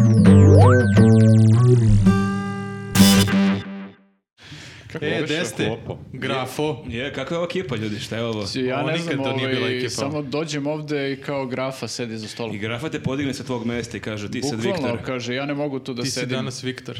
E, Gde Saša ste? Klopo. Grafo. Je, kakva je ovo ekipa, ljudi, šta je ovo? Ja Ovo ne nikad znam, to nije ovaj, bila ekipa. samo dođem ovde i kao grafa sedi za stolom. I grafa te podigne sa tvog mesta i kaže, ti sad Bukvalno Viktor. kaže, ja ne mogu tu da Ti si sedim. danas Viktor.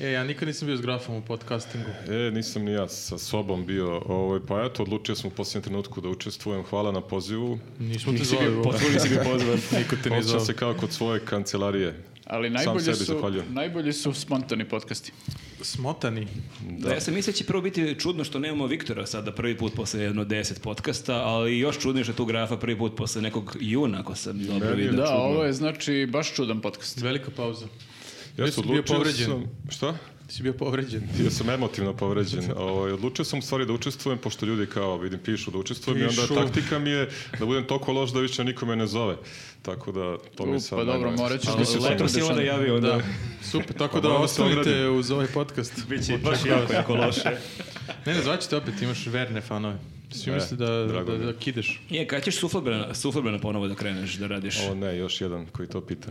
E, ja nikad nisam bio s grafom u podcastingu. E, nisam ni ja sa sobom bio. Ovaj, pa eto, odlučio sam u posljednjem trenutku da učestvujem. Hvala na pozivu. Nismo te zvali. uopšte. Potpuno si bio pozvan. Niko te nije Osjećam zvao. se kao kod svoje kancelarije. Ali Sam najbolji sebi su, zahvaljujem. najbolji su spontani podcasti. Smotani. Da. Ja sam mislio da će prvo biti čudno što nemamo Viktora sada prvi put posle jedno deset podcasta, ali još čudnije što je tu grafa prvi put posle nekog juna, ako sam dobro Meni je vidio. Da, čudno. ovo je znači baš čudan podcast. Velika pauza. Ja Jesi sam bio odlučio povređen? sam- Šta? Ti si bio povređen. Ja sam emotivno povređen. Ovaj, odlučio sam u stvari da učestvujem, pošto ljudi kao, vidim, pišu da učestvujem i Pišu. onda taktika mi je da budem toliko loš da više niko me ne zove. Tako da to mi U, je sad... pa dobro, najbolje. morat ćeš Ali da se Lepo si Dešano. onda javio, da. Da, super. Tako da Moram Pa da se ostanite ogradim. uz ovaj podcast. Biće baš jako, jako loše. Ne, ne, zvaćete opet, imaš verne fanove. Svi E, misle da, da, drago mi je. da kideš. Je, kad ćeš suflebrana, suflebrana ponovo da kreneš da radiš? O ne, još jedan koji to pita.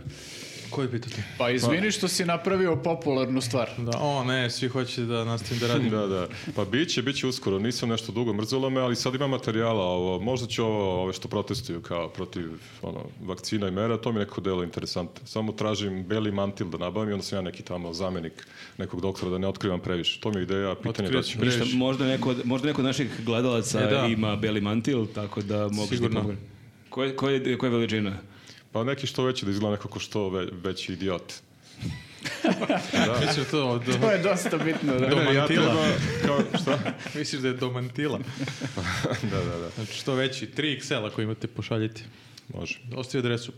Koji pitate? Pa izvini što si napravio popularnu stvar. Da, o ne, svi hoće da nastavim da radim. Da, da. Pa biće, biće uskoro. Nisam nešto dugo mrzelo me, ali sad ima materijala ovo. Možda ću ovo, ove što protestuju kao protiv ono, vakcina i mera, to mi neko delo interesantno. Samo tražim beli mantil da nabavim i onda sam ja neki tamo zamenik nekog doktora da ne otkrivam previše. To mi je ideja, pitanje da Otkrio ću... si previše. Ništa, možda, neko, od- možda neko od naših gledalaca E, da. ima beli mantil, tako da mogu Sigurno. Koja ko je, ko je veličina? Pa neki što veći da izgleda nekako što ve, veći idiot. Mislim to od... To je dosta bitno. Da. Do Ne, ne, ja mantila. treba, kao, šta? Misliš da je do mantila? Da, da, da, Znači što veći, 3 XL ako imate pošaljite. može. Ostavi adresu.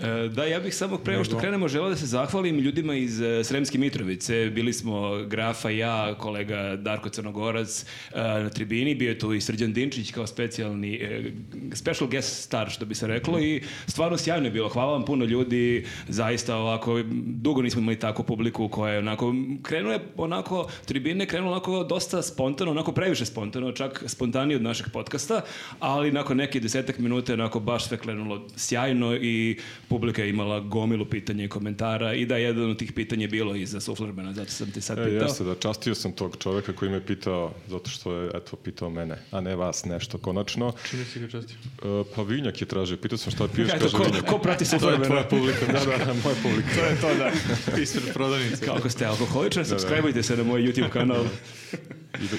E, da, ja bih samo prema što krenemo želeo da se zahvalim ljudima iz e, Sremske Mitrovice. Bili smo Grafa, i ja, kolega Darko Crnogorac e, na tribini. Bio je tu i Srđan Dinčić kao specijalni, e, special guest star, što bi se reklo. I stvarno sjajno je bilo. Hvala vam puno ljudi. Zaista ovako, dugo nismo imali takvu publiku koja je onako, krenuo je onako, tribine krenulo onako dosta spontano, onako previše spontano, čak spontanije od našeg podcasta, ali nakon nekih desetak minuta je onako baš sve krenulo sjajno i publika je imala gomilu pitanja i komentara i da jedan od tih pitanja je bilo i za Suflerbena, zato sam te sad E, pitao. jeste da, častio sam tog čoveka koji me pitao, zato što je, eto, pitao mene, a ne vas nešto konačno. Čini si ga častio. E, pa vinjak je tražio, pitao sam šta piješ, Eto, kaže ko, vinjak. ko prati Suflerbena? publika. da, da, da, moja publika. To je to, da. Ispred prodavnice. Kao ako ste alkoholičar, subscribeujte se na moj YouTube kanal.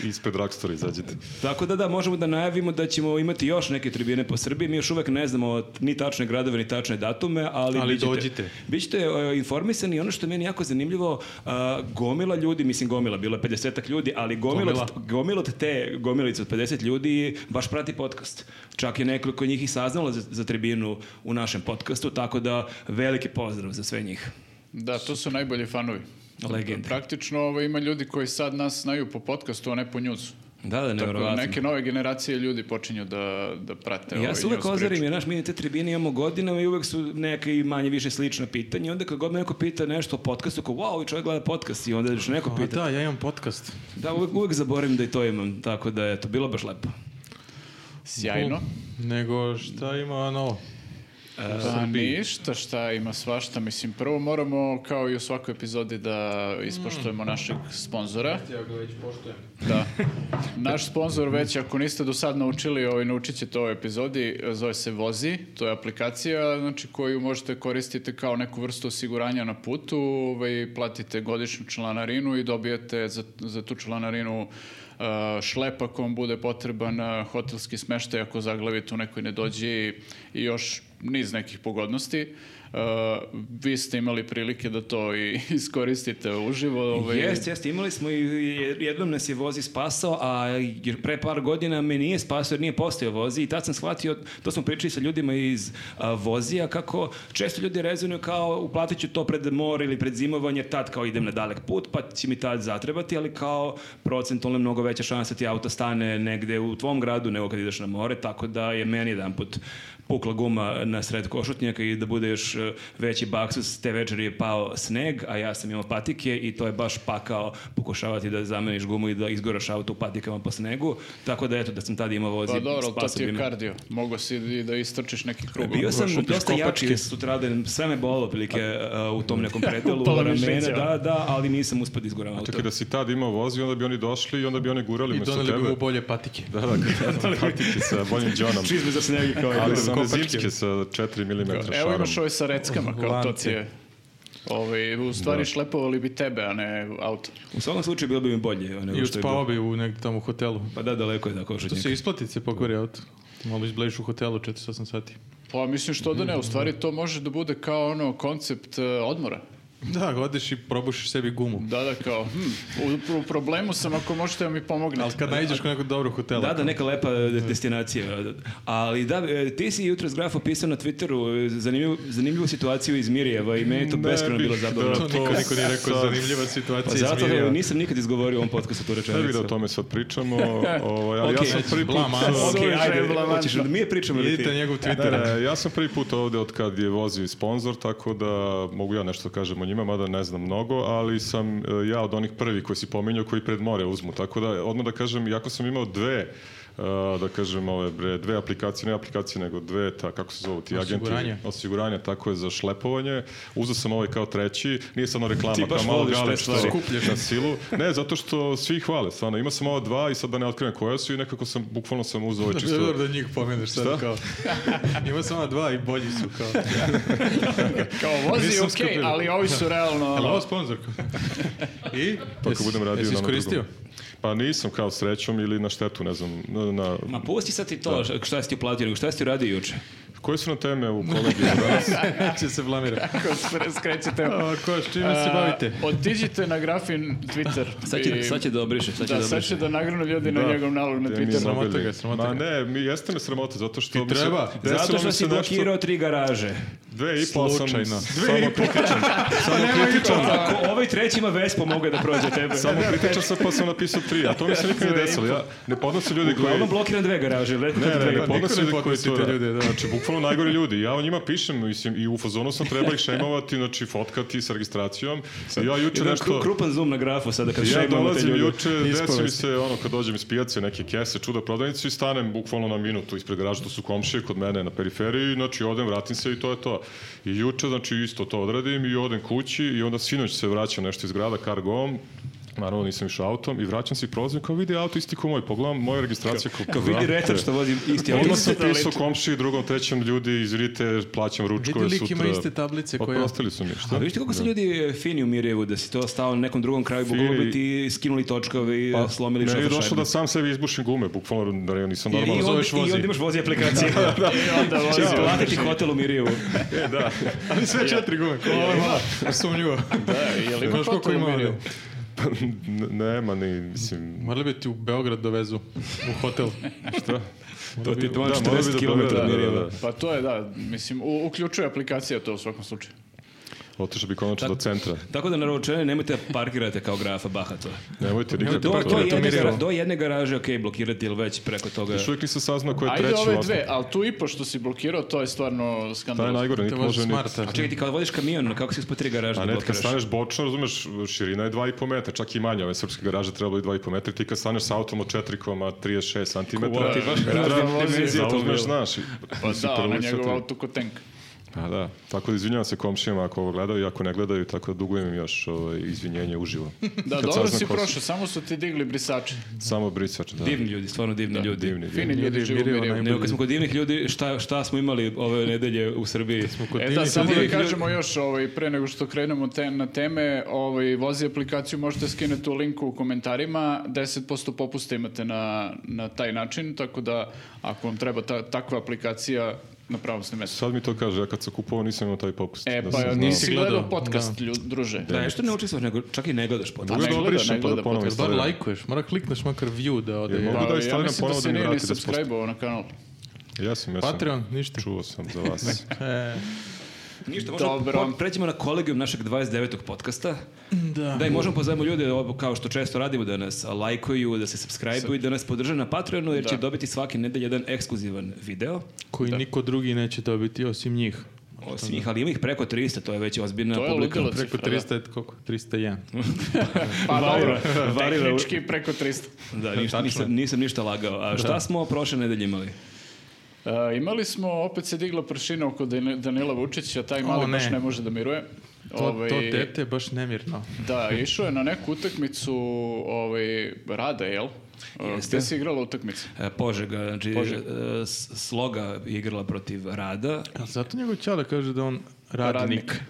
I, ispred Rakstora izađete. Tako da da, možemo da najavimo da ćemo imati još neke tribine po Srbiji. Mi još uvek ne znamo ni tačne gradove, ni tačne datume, ali, Ali bićete- dođite. Bićete e, informisani. Ono što je meni jako zanimljivo, a, gomila ljudi, mislim gomila, bilo je 50 ljudi, ali gomila, Gomila. od- gomila od te gomilice od 50 ljudi baš prati podcast. Čak je nekoliko njih i saznalo za, za tribinu u našem podcastu, tako da veliki pozdrav za sve njih. Da, to su najbolji fanovi. Legende. Praktično ovo, ima ljudi koji sad nas znaju po podcastu, a ne po njuzu. Da, da, nevjerovatno. Neke nove generacije ljudi počinju da, da prate ovaj Ja se uvek news ozarim, priču. jer naš, mi na te tribine imamo godinama i uvek su neke i manje više slična pitanja. I onda kad god me neko pita nešto o podcastu, kao wow, i čovjek gleda podcast i onda još neko A pita. da, ja imam podcast. Da, uvek, uvek zaboravim da i to imam, tako da je to bilo baš lepo. Sjajno. Nego šta ima novo? Pa ništa, šta ima svašta. Mislim, prvo moramo, kao i u svakoj epizodi, da ispoštujemo Mm. našeg sponzora. Ja ga već poštujem. Da. Naš sponsor već, ako niste do sad naučili, ovaj, naučit ćete u ovoj epizodi, zove se Vozi, to je aplikacija znači, koju možete koristiti kao neku vrstu osiguranja na putu, ovaj, platite godišnju članarinu i dobijete za, za tu članarinu uh, šlep ako vam bude potreban uh, hotelski smeštaj ako zaglavite u nekoj nedođi i još niz nekih pogodnosti. Uh, vi ste imali prilike da to i iskoristite uživo. Ovaj, Jeste, jeste, imali smo i i jednom nas je vozi spasao, a jer pre par godina me nije spasao jer nije postao vozi i tad sam shvatio, to smo pričali sa ljudima iz a, vozija, kako često ljudi rezonuju kao uplatit ću to pred more ili pred zimovanje, tad kao idem na dalek put, pa će mi tad zatrebati, ali kao procentualno je mnogo veća šansa da ti auto stane negde u tvom gradu nego kad ideš na more, tako da je meni jedan put pukla guma na sred košutnjaka i da bude još e, veći baksus. Te večeri je pao sneg, a ja sam imao patike i to je baš pakao pokušavati da zameniš gumu i da izgoraš auto u patikama po snegu. Tako da eto, da sam tada imao vozi Pa dobro, ali to spasao ti bi je me. E, kardio. Mogao si i da istrčiš neki krug. Bio sam Šutiš dosta kopačke. jači sutradan, sve me bolo prilike u tom nekom pretelu, Upala ramena, mišića. da, da, ali nisam uspio da izguram auto. Čak i da si tad imao vozi, onda bi oni došli i onda bi oni gurali I mesto tebe. doneli bi mu bolje patike. Da, da, gledam patike sa boljim džonom. Čizme za snegi kao Ali i gledam. sam kopačke. zimske sa 4 mm šarom. Evo imaš ove sa reckama, kao to ti Lance. je. Ove, u stvari šlepovali bi tebe, a ne auto. U svakom slučaju bilo bi mi bolje. ono, Nego I što je bilo. uspavao bi u negdje tamo u hotelu. Pa da, daleko je da To košutnjak. se isplati se pokvari auto. Malo izblejiš u hotelu 4-8 sati. Pa mislim što da ne, u stvari to može da bude kao ono koncept e, odmora. Da, odeš i probušiš sebi gumu. Da, da, kao, hm, u, u problemu sam ako možete da mi pomognete. Ali kad naiđeš kod nekog dobrog hotela. Da, da, neka lepa e, de- destinacija. Ali da, e, ti si jutros graf opisao na Twitteru e, zanimljivu, zanimljivu situaciju iz Mirjeva i meni je to Ne beskreno bih, bilo zabavno. da. To niko, niko nije rekao, Sad- zanimljiva situacija Pa iz zato Mirjeva. e, nisam nikad izgovorio u ovom podcastu tu Ne bih da rečenicu. o tome sad pričamo, ovaj, ali Okej. ja sam prvi put... Blam, a? Ok, Suviše je ajde, blamantno. hoćeš da mi je pričamo ili ti? Idite njegov Ne, Twitter. ne, ja sam prvi put ovdje od kad je vozi sponsor, tako da mogu ja nešto da kažem o njima, mada ne znam mnogo, ali sam e, ja od onih prvih koji si pominjao koji pred more uzmu. Tako da, odmah da kažem, jako sam imao dve e, da kažem ove bre, dve aplikacije, ne aplikacije, nego dve, ta, kako se zovu ti agenti? Osiguranja. Osiguranja, tako je, za šlepovanje. Uzeo sam ovaj kao treći, nije samo reklama, Ti baš kao malo voliš te gale stvari. što skupljaš na silu. Ne, zato što svi hvale, stvarno. Imao sam ova dva i sad da ne otkrivam koja su i nekako sam, bukvalno sam uzeo ovaj Da, čisto Dobro da njih pomeneš sad Šta? kao. Ima samo dva i bolji su kao. Kao vozi je Nisam okej, skupio. ali ovi su realno... Ali ovo ono, sponsor. I? To ako budem radio jesi na ono iskoristio? drugo. Pa nisam kao srećom ili na štetu, ne znam. Na, na- Ma pusti sad ti to, š- šta si ti uplatio, nego šta si ti uradio juče? Koje su na teme u kolegiju danas? Će Znači se blamira. Ako spre- skrećete... A, ko, s čime se bavite? A, Otiđite na grafin Twitter. Sad će, i- sad će da obriše, sad će da, Da, sad obriše. će da nagrnu ljudi na Da. njegov nalog na Gde mi Twitteru. je Sramota nabili. ga, sramota Ma ga. ne, mi, jeste me sramota, zato što... mi se- treba. desilo Zato što mi se si nešto- blokirao tri garaže. Dve i pol sam... Slučajno. Samo kritičan. pa samo kritičan. Ako ovaj treći ima Vespa, mogu je da prođe tebe. Pa- Samo kritičan sam pa sam napisao tri, a to mi se nikad Dve nije i desilo. Ja ne podnosim ljudi koji... Uglavnom blokiram dve garaže, lepo Ne, ne, dve. ne, podnosim Pa, ne ljudi koji podnosi to te rade. ljude, da. Znači, bukvalno najgori ljudi. Ja o njima pišem, mislim, i u fazonu sam treba ih šemovati, znači, fotkati sa registracijom. I ja juče Jedan nešto... kru- krupan zoom na grafu sada kad Ja šejmamo te dolazim ljude. juče, desi mi Ispovesti. se ono kad dođem iz pijace neke kese, čuda prodavnicu i stanem bukvalno na minutu ispred garaža, to su komšije kod mene na periferiji, znači odem, vratim se i to je to. I juče znači isto to odradim i odem kući i onda sinoć se vraćam nešto iz grada kargom, Naravno nisam išao autom i vraćam se i prozivim kao vidi auto isti ko moj, pogledam moja registracija kao, Kao vidi retar što vozi isti auto. Odmah sam pisao komšiji, drugom, trećem ljudi izrite, plaćam ručkove Vidi sutra. Pa lik ima iste tablice koje- Oprostili su mi, šta? A vidite kako su ljudi e, fini u Mirjevu, da si to stao na nekom drugom kraju, moglo bi Fini. ti skinuli točkove i e, slomili Meni je šofer došlo šajbe. da sam sebi izbušim gume, bukvalno da ja nisam I, normalno. i, zoveš onda, I vozi. onda imaš vozi aplikacije. I onda vozi. Će platiti hotel u Mirjevu. Ali sve četiri gume. Ovo je malo sumnjivo. Da, je li ima Znaš koliko foto u ima Miriju? ovdje? N- Nema ni, mislim... Morali bi ti u Beograd dovezu, u hotel. To ti je Da, morao bi 40 da km Ono od pogledam, da, da, Mirjeva. da. Pa to je, da, mislim, u, uključuje aplikacija to u svakom slučaju. Otišao bi konačno do centra. Tako da naravčene nemojte da parkirate kao grafa bahato. Nemojte nikako Do, do, to. jedne, Mirjevo. gara- do jedne garaže, ok, blokirati ili već preko toga. Još uvijek nisam saznao ko je Ajde treći. ove vlasnik. dve, ali tu i po što si blokirao, to je stvarno Taj je skandalozno. najgore, Te niti vozi može ni... smarta. A čekaj, ti kada vodiš kamion, kako si ispod tri garaže A da ne, kad blokiraš? staneš bočno, razumeš, širina je 2,5 metra, čak i manje, ove srpske garaže trebalo je 2,5 metra, ti kad staneš sa autom od 4,36 cm, Kuva, ti baš razne dimenzije to bilo. zauzmeš, znaš. i- Pa mislim, da, onaj prvo njegov ušao auto ko tank. tu. A Pa da, tako da izvinjavam se komšijama ako ovo gledaju i ako ne gledaju, tako da dugujem im još ovaj, izvinjenje uživo. Da, Kad dobro saznam si ko su. prošao, samo su ti digli brisači. Samo brisač, da. Divni ljudi, stvarno divni ljudi. Divni, divni. Fini ljudi Mirjevo, živu Mirjevo, Mirjevo. najbolje. Nego kad smo kod divnih ljudi, šta, šta smo imali ove nedelje u Srbiji? Kod E da, divnih samo da ljudi- kažemo još, ovaj, pre nego što krenemo te, na teme, ovaj, vozi aplikaciju, možete skinuti u linku u komentarima, 10% popusta imate na, na taj način, tako da ako vam treba ta, takva aplikacija, na pravom ste mesto. Sad mi to kaže, ja kad sam kupovao nisam imao taj popust. E, da pa sam znao. nisi gledao gledao, podcast, lju- druže. Da, nešto ne učestvuješ, nego čak i ne gledaš potom. ne Mogu da gleda, ne obrišem pa gleda da ponovim Jel bar stavljam. lajkuješ? Mora klikneš makar view da ode. Jel mogu? Pa, da ja instalira mislim da ponovo se da mi nije ni vrati 10%. subscribe-ovao na kanal. Ja sam, ja sam. Patreon, ništa. Čuo sam za vas. E, Ništa, možda Dobro. po- pređemo na kolegijum našeg 29. podcasta. Da. Da, i možemo pozovemo ljude, ovo, kao što često radimo da nas lajkuju, da se subscribe-uju i da nas podrže na Patreonu, jer će dobiti svake nedelje jedan ekskluzivan video. Koji niko drugi neće dobiti osim njih. Osim njih, ali ima ih preko 300, to je već ozbiljna To je publika. ludilo. Preko 300, je koliko? 301. Pa dobro, varira. tehnički preko 300. Da, ništa, nisam, nisam ništa lagao. A šta smo prošle nedelje imali? E, imali smo, opet se digla pršina oko Dan- Danila Vučića, taj mali ne. baš ne može da miruje. To, Ovaj, to dete je baš nemirno. Da, išao je na neku utakmicu ovaj, rada, jel? E, Jeste. Gde si igrala utakmicu? E, Požega, znači Požega. e, S- Sloga je igrala protiv Rada. A zato njegov čale kaže da on radnik. Radnik.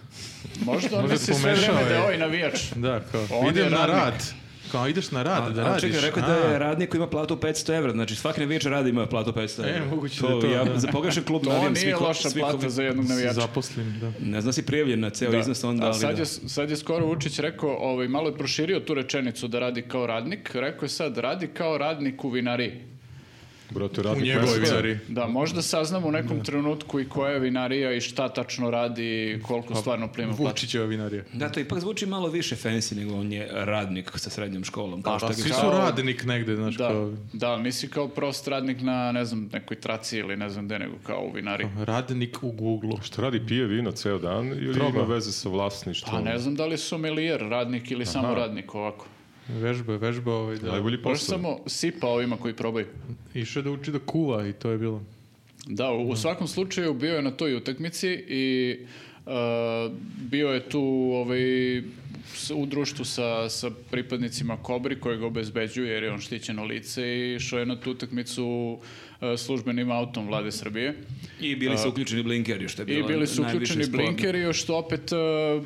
Možda on Možda misli sve pomešao vreme da je. je ovaj navijač. Da, kao, On je idem na radnik. rad. Kao, ideš na rad, da A, radiš. čekaj, rekao A, da je radnik koji ima platu 500 evra, znači svaki navijač rada ima platu 500 evra. E, moguće da je to, ja da. za pogrešan klub To navijam svih nije ko- loša svih plata ko- za jednog se navijača. Zaposlim, da. Ne znam si prijavljen na ceo iznos onda, A ali sad da. je, sad je skoro Vučić rekao, ovaj, malo je proširio tu rečenicu da radi kao radnik, rekao je sad radi kao radnik u vinariji. Brate, radnik U njegovoj meseca. vinari. Da, možda saznam u nekom trenutku i koja je vinarija i šta tačno radi i koliko Pa, stvarno prima platu. Vučićeva vinarija. Da, to ipak zvuči malo više fancy nego on je radnik sa srednjom školom. Kao što pa, ga- Svi su Kao- radnik negde, znaš, Da, kao... da, ali nisi kao prost radnik na, ne znam, nekoj traci ili ne znam gde, nego kao u vinariji. Radnik u Google. Šta radi, pije vino ceo dan ili Proba. ima veze sa vlasništvom? Pa ne znam da li su milijer radnik ili samo radnik ovako. Vežba, je, vežba, ovaj, da. Najbolji Možda posao. samo sipa ovima koji probaju. Išao je da uči da kuva i to je bilo. Da, u, u svakom slučaju bio je na toj utakmici i e, bio je tu ovaj, s- u društvu sa, sa pripadnicima Kobri koji ga obezbeđuju jer je on štićeno lice i išao je na tu utakmicu e, službenim autom vlade Srbije. I bili su uključeni blinkeri, što je I bilo bili su najviše uključeni sporno. blinkeri, što opet, e,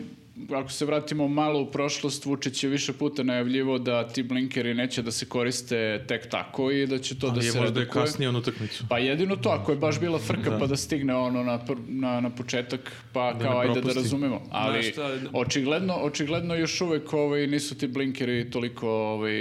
ako se vratimo malo u prošlost, Vučić je više puta najavljivo da ti blinkeri neće da se koriste tek tako i da će to da Ali je se možda je redukuje. kasnije on utakmicu. Pa jedino to, ako je baš bila frka pa da stigne ono na, pr- na, na početak, pa ne kao ajde da propusti. razumemo. Ali Znaš šta, očigledno, očigledno još uvek ovaj, nisu ti blinkeri toliko ovaj,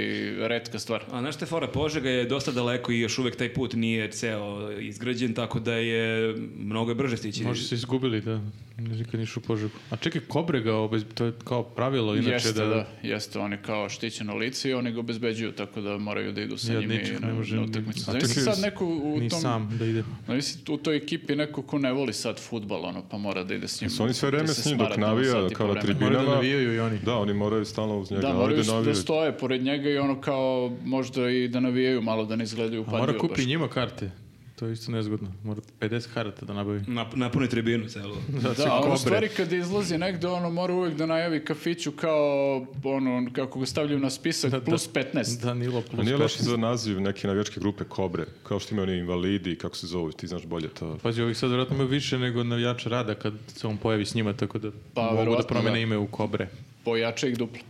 redka stvar. A znaš šta je fora, Požega je dosta daleko i još uvek taj put nije ceo izgrađen, tako da je mnogo je brže stići. Možda se izgubili, da. Nikad nišu požegu. A čekaj, kobrega, obez... to je kao pravilo, inače jeste, da... da, jeste, oni kao štićeno lice i oni ga obezbeđuju, tako da moraju da idu sa Ja od njima i ničeg na, ne možem na ni- utakmicu. A Zamisli čekaj, sad neko u Ni tom... sam da ide. Zamisli u toj ekipi neko ko ne voli sad futbal, ono, pa mora da ide s njim. Jesu oni sve da vreme se s njim dok smara tamo navija, sat i po kao na vremena? Moraju da Binama- navijaju i oni. Da, oni moraju stalno uz njega. Da, Ajde, moraju da navijaj. stoje pored njega i ono kao možda i da navijaju malo da ne izgledaju A upadljivo. mora kupi baš. njima karte. To je isto nezgodno. Mora 50 karata da nabavi. Nap- napuni tribinu celu. Da, a on u stvari kad izlazi negde, ono mora uvek da najavi kafiću kao, ono, kako ga stavljaju na spisak, plus 15. Danilo A plus nije loš 15. za naziv neke navijačke grupe Kobre, kao što imaju oni invalidi, kako se zovu, ti znaš bolje to. Pazi, ovih sad vjerojatno ima više nego navijača rada kad se on pojavi s njima, tako da Pa, mogu da verovatno promene da. ime u kobre. Pojača ih duplo.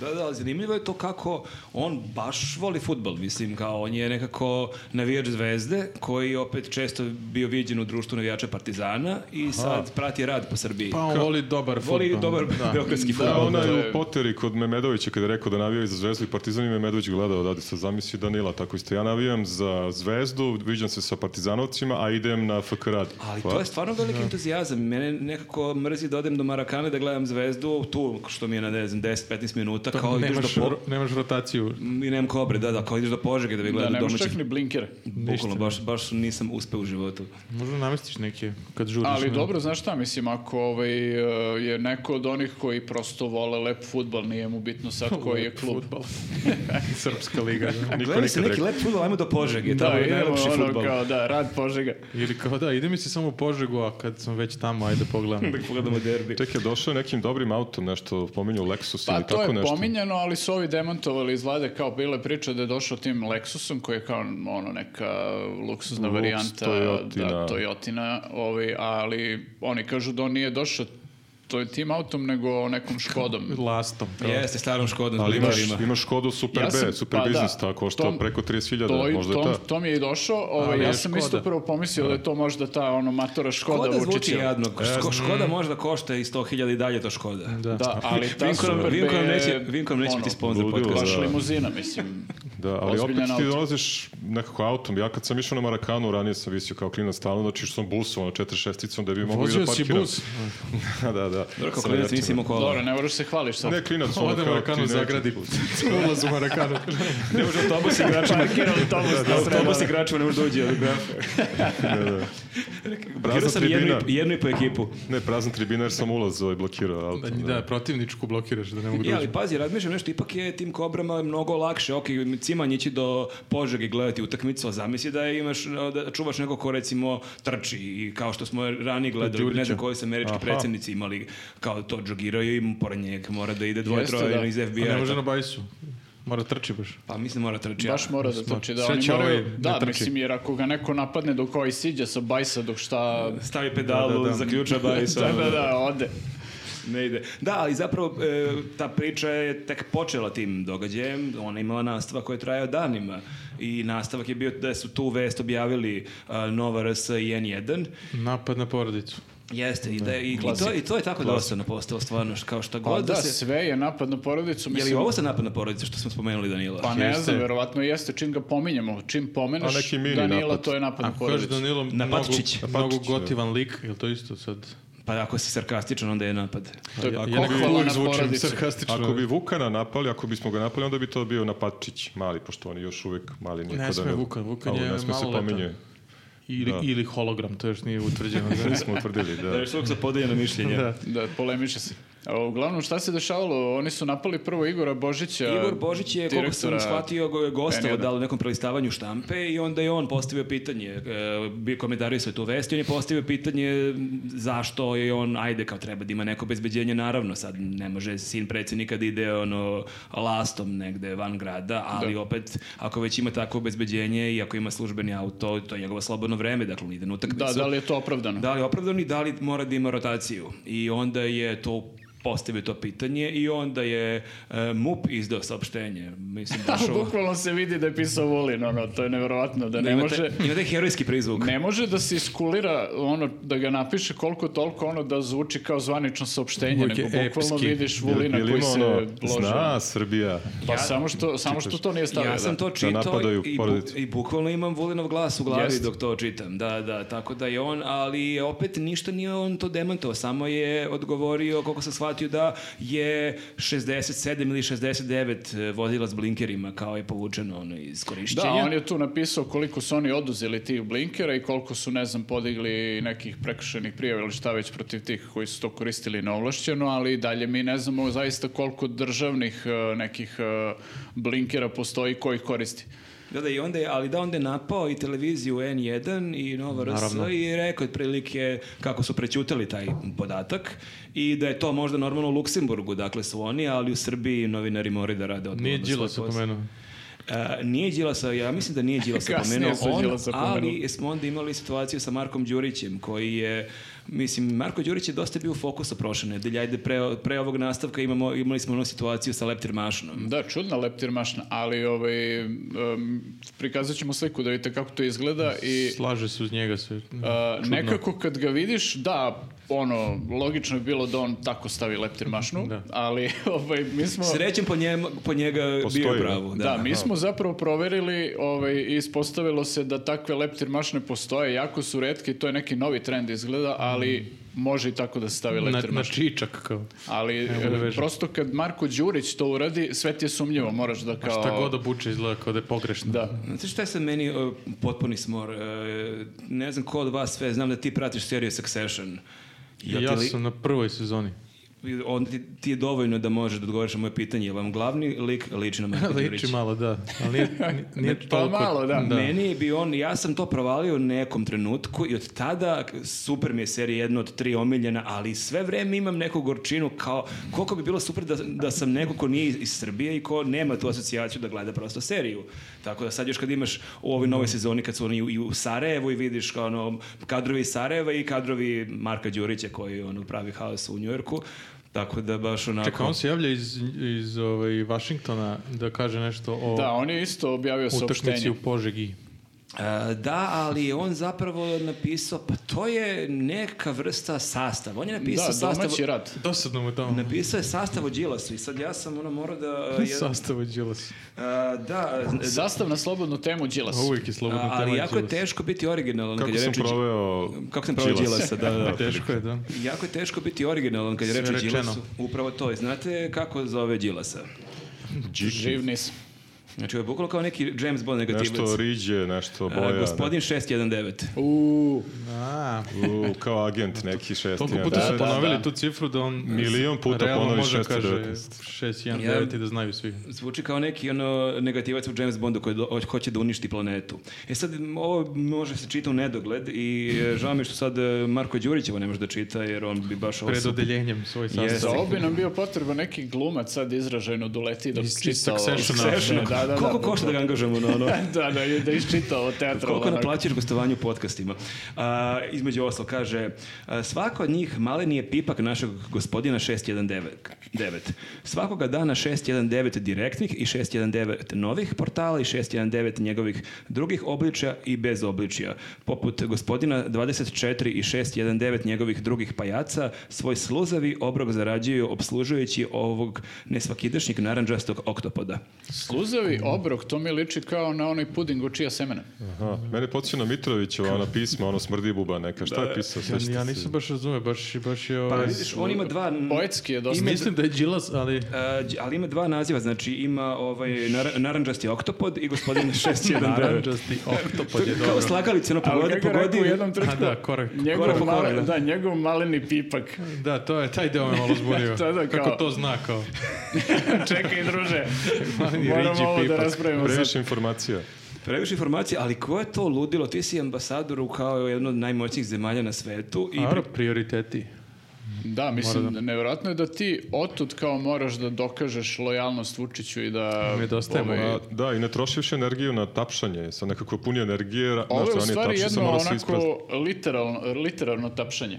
Da, da, ali zanimljivo je to kako on baš voli futbal, mislim, kao on je nekako navijač zvezde, koji je opet često bio viđen u društvu navijača Partizana i sad prati rad po Srbiji. Pa on voli dobar voli fudbal. dobar Da. beogradski Da, futbal. to onaj je- u Poteri kod Memedovića kada je rekao da navija za Zvezdu i Partizan i Memedović gledao odavde, sad zamisli Danila, tako isto. Ja navijam za Zvezdu, viđam se sa Partizanovcima, a idem na FK Rad. Ali Pa, to je stvarno veliki entuzijazam. Mene nekako mrzi da odem do Marakane da gledam zvezdu tu, što mi je na, ne znam, 10-15 minuta, kao ideš Pa Nemaš, do po... ro- nemaš rotaciju. I nemam kobre, da, da, kao ideš do Požege da bi Da, gledao nemaš domaćih. čak ni blinkere. Bukvalno, baš, baš nisam uspeo u životu. Možda namestiš neke kad žuriš. Ali na- dobro, znaš šta, mislim, ako ovaj, e, je neko od onih koji prosto vole lep futbal, nije mu bitno sad koji je klub. Srpska liga. da. niko Gledali se nikad neki lep futbol, ajmo do Požege, Da, tamo je idemo najlepši ono futbol. kao, da, rad požega. Ili kao da, ide mi se samo u Požegu, a kad sam već tamo, ajde pogledam. Da pogledamo derbi. Tek je došao nekim dobrim autom, nešto pominju Lexus Pa ili to tako je nešto. pominjano, ali su ovi demantovali iz vlade kao bile priče da je došao tim Lexusom koji je kao ono neka luksuzna Lux, varijanta Toyotina. da Toyotina, ovaj, ali oni kažu da on nije došao to je tim autom nego nekom Škodom. Lastom. kao. Jeste, starom škodom. Ali imaš, ima. imaš Škodu Super Ja B, sam- Super pa da, Biznis, ta košta tom- preko 30.000, To, i- možda je to, ta. to mi je i došao. Ovaj, Ali je ja sam isto Škoda. prvo pomislio da je to možda ta ono matora Škoda, Škoda zvuči Vučićeva. jadno. Ško- škoda možda košta i 100.000 i dalje to Škoda. Da. Da, ali ta Vinko nam- Super B Vinko nam neće, je, Vinko nam neće ono, biti sponsor ludilo, podcasta. Baš Da. limuzina, mislim. Da, ali opet Ozbiljan ti auto. dolaziš nekako autom. Ja kad sam išao na Marakanu, ranije sam visio kao klinac stalno, znači što sam busom, ono 46-icom, da bi mogu i da Vozio si parkiram. bus. da, da, da... Dobro, sa kao klinac navijačima. nisi imao kola. Dobro, ne moraš se hvališ sad. Ne, klinac, ono Ode kao Marakanu teenager. zagradi. Ulaz u Marakanu. Ne može autobus igračima. Parkirao autobus na autobus stranu. igračima ne može dođi od grafa. Da, da. Birao sam jednu, tribina. i- jednu i po ekipu. Ne, prazna tribina jer sam ulaz ovaj blokirao auto. Da, protivničku blokiraš da ne mogu da Ja, uđu. E, ali pazi, razmišljam nešto, ipak je tim kobrama mnogo lakše. Ok, Ciman ići do Požege gledati utakmicu, a zamisli da imaš, da čuvaš neko ko recimo trči i kao što smo ranije gledali, ne Đurića. znam koji su američki predsjednici imali, kao to džogiraju i pored njega mora da ide dvoje, Jeste, troje da. iz A ne FBI-a. može na bajsu. Mora trči baš. Pa mislim mora trči. a- Baš mora da trči, da oni Sreća moraju... ovaj ne Da, trči. mislim, jer ako ga neko napadne dok ovaj siđe sa bajsa, dok šta... Stavi pedalu, zaključa ono. i Da, da, da, ode. Ne ide. Da, ali zapravo e, ta priča je tek počela tim događajem. Ona je imala nastavak koji je trajao danima. I nastavak je bio da su tu vest objavili a, Nova RS i N1. Napad na porodicu. Jeste, i, da, i, i to, i to je tako dosadno postalo stvarno, š- kao šta Pa god da, da se... sve je napad na porodicu, Je mislim... li ovo sad napad na porodice što smo spomenuli Danila? Pa ne Jeste. znam, verovatno jeste, čim ga pominjemo, čim pomeneš A neki mini Danila, napad. to je napad na Ako kaže porodicu. Danilo Na mnogo, Patčić. mnogo Patčić, da. gotivan lik, je li to isto sad? Pa ako si sarkastičan, onda je napad. To je Ja- ja ne bih pohvala uvek na zvučim porodicu. sarkastično. Ako bi Vukana napali, ako bismo ga napali, onda bi to bio napačić mali, pošto on je još uvijek mali. nikada sme Vukan, Vukan Ali je ne sme se maloletan. pominje. Ili, Da. ili hologram, to još nije utvrđeno. Svi smo utvrdili, da. svog za podeljeno mišljenje. da. Da, polemiše se. A, Uglavnom, šta se dešavalo? Oni su napali prvo Igora Božića. Igor Božić je, koliko sam direktora- shvatio, go- gostao N1. da li u nekom prelistavanju štampe i onda je on postavio pitanje, e, bi komentarisao je tu vest i on je postavio pitanje zašto je on, ajde kao treba da ima neko bezbeđenje, naravno sad ne može sin predsjednika da ide ono lastom negde van grada, ali opet ako već ima takvo obezbeđenje i ako ima službeni auto, to je njegovo slobodno vreme, dakle on ide na utakmicu. Da, da li je to opravdano? Da li je opravdano i da li mora da ima rotaciju? I onda je to postavio to pitanje i onda je e, MUP izdao saopštenje. Mislim, baš ovo- Bukvalno se vidi da je pisao Vulin, ono, to je nevjerovatno, da ne imate, može... imate herojski prizvuk. Ne može da se iskulira ono da ga napiše koliko toliko ono da zvuči kao zvanično saopštenje, Uvijek je nego bukvalno epski. vidiš Jel- Vulina jel koji ima se ono, lože. Zna Srbija. Pa samo što samo što to nije stavio. Ja sam to čitao napadaju i, bu- porodicu. i bukvalno imam Vulinov glas u glavi Jeste. dok to čitam. Da, da, tako da je on, ali opet ništa nije on to demantovao, samo je odgovorio, koliko sam shvatio, da je 67 ili 69 vozila s blinkerima kao je povučeno ono, iz korišćenja. Da, on je tu napisao koliko su oni oduzeli tih blinkera i koliko su, ne znam, podigli nekih prekršenih prijava ili šta već protiv tih koji su to koristili neovlašćeno, ali i dalje mi ne znamo zaista koliko državnih e, nekih e, blinkera postoji koji ih koristi. Da, da, i onda je, ali da, onda je napao i televiziju N1 i Nova RS Naravno. i rekao je otprilike kako su prećutali taj podatak i da je to možda normalno u Luksemburgu, dakle su oni, ali u Srbiji novinari moraju da rade odgovorno Nije svoj Đila se posao. pomenuo. E, nije Đilasa, ja mislim da nije Đilasa Kasnije pomenuo su on, Đilasa ali pomenuli. smo onda imali situaciju sa Markom Đurićem koji je, mislim, Marko Đurić je dosta bio u fokusu prošle nedelje, ajde pre, pre ovog nastavka imamo, imali smo onu situaciju sa Leptir Mašnom. Da, čudna leptirmašna, ali ovaj, em, prikazat ćemo sliku da vidite kako to izgleda i... Slaže se uz njega sve. Uh, Čudno. nekako kad ga vidiš, da, ono, logično je bilo da on tako stavi leptirmašnu, Da. ali ovaj, mi smo... Srećem po, njemu- po njega Postoji, bio je da. pravo. Da, mi smo zapravo proverili ovaj, i ispostavilo se da takve leptirmašne postoje, jako su redke i to je neki novi trend izgleda, ali može i tako da se stavi Mhm. Na, na leptirmašna. čičak kao. Ali Ne mogu da e, vežem. prosto kad Marko Đurić to uradi, sve ti je sumnjivo, moraš da A kao... šta god obuče izgleda kao da je pogrešno. Da. Znate šta je sad meni e, potpuni smor? E, ne znam ko od vas sve, znam da ti pratiš seriju Succession. I Jel ti ja li- sam na prvoj sezoni. Onda ti, ti je dovoljno da možeš da odgovoriš na moje pitanje. Je vam glavni lik liči na Marka Liči Đurića? malo, da. Ali nije, nije- nije Pa toliko... malo, da. Meni je bio on, ja sam to provalio u nekom trenutku i od tada super mi je serija jedna od tri omiljena, ali sve vreme imam neku gorčinu kao koliko bi bilo super da, da sam neko ko nije iz Srbije i ko nema tu asocijaciju da gleda prosto seriju. Tako da sad još kad imaš u ovoj novoj sezoni kad su oni i u Sarajevu i vidiš kao ono, kadrovi iz Sarajeva i kadrovi Marka Đurića koji ono, pravi haos u Njujorku. Tako da baš onako... Čekaj, on se javlja iz, iz ovaj, Washingtona da kaže nešto o Da, on je isto objavio utakmici saopštenje. u Požegi. E, Da, ali je on zapravo napisao, pa to je neka vrsta sastava. On je napisao Da, sastav... domaći rad. Dosadno mu je tamo. Napisao je sastav o Đilasu i sad ja sam ono morao da... e, jedan- Sastava Đilas. A, da, e, da, Sastav na slobodnu temu Đilas. A Uvijek je slobodna ono, tema ali jako je Đilas. teško biti originalan Kako kad je sam reč o Đi- proveo... Kako sam proveo Đilasa, da, da. Teško je, da. Jako je teško biti originalan kad je reč Sve o rečeno. Đilasu. Upravo to. je. Znate kako zove Đilasa? Živ nisam. Znači, ovo je bukvalo kao neki James Bond negativac. Nešto riđe, nešto A, boja. E, gospodin 619. Uuu, A, ne- U, kao agent neki šest. toliko jedan, puta devet. su ponovili da. tu cifru da on... Milion puta realno ponovi može 619. kaže 619 i da znaju svi. Zvuči kao neki ono negativac u James Bondu koji do- hoće da uništi planetu. E sad, m, ovo može se čita u nedogled i e, žao mi je što sad e, Marko Đurić ovo ne može da čita jer on bi baš ovo... Pred odeljenjem svoj Jeste. za sastav. ovo bi nam bio potreban neki glumac sad izražajno doleti dok Iz- iz čita ovo. Successiona. Successiona, Da, da, da. Koliko košta da ga angažujemo na ono? da, da, da iščita ovo teatralno. Koliko onako. naplaćaš gostovanju u podcastima? A, između oslo kaže, a, svako od njih maleni je pipak našeg gospodina 619. Devet. Svakoga dana 619 direktnih i 619 novih portala i 619 njegovih drugih obličja i bez obličja. Poput gospodina 24 i 619 njegovih drugih pajaca, svoj sluzavi obrok zarađuju obslužujući ovog nesvakidašnjeg naranđastog oktopoda. Sluzavi obrok, to mi liči kao na onaj puding od čija semena. Aha, mene podsjeća na Mitrovićeva, ona pisma, ono smrdi buba neka. Šta je pisao? Ja, Sjećate ja se? nisam baš razume, baš, baš je... Pa ovaj- vidiš, on ima dva... Poetski je dosta. Mislim da je Đilas, ali... E, đ- ali ima dva naziva, znači ima ovaj nar- naranđasti oktopod i gospodin 619. Naranđasti oktopod je Kao dobro. slagalice, ono Ali pogodi, kako je rekao u pogodi. jednom A trenutku, da, korak. njegov, korak po male- korak, da. da, njegov maleni pipak. Da, to je, taj deo me malo zbunio. To da, kao- Kako to zna, kao? Čekaj, druže, Mali riđi moramo ovo da pipak. raspravimo sad. Previše informacija. Previše informacija, ali ko je to ludilo? Ti si ambasador u kao jedno od najmoćnijih zemalja na svetu i Dobro, prioriteti. Da, mislim, nevjerojatno je da ti otud kao moraš da dokažeš lojalnost Vučiću i da... Nedostaje mu, ovaj, A, E, da, i ne troši više energiju na tapšanje. Sad nekako puni energije. ra- Ovo je znaš, u ranije stvari tapši se jedno mora sve isprazniti. onako literalno, literarno tapšanje.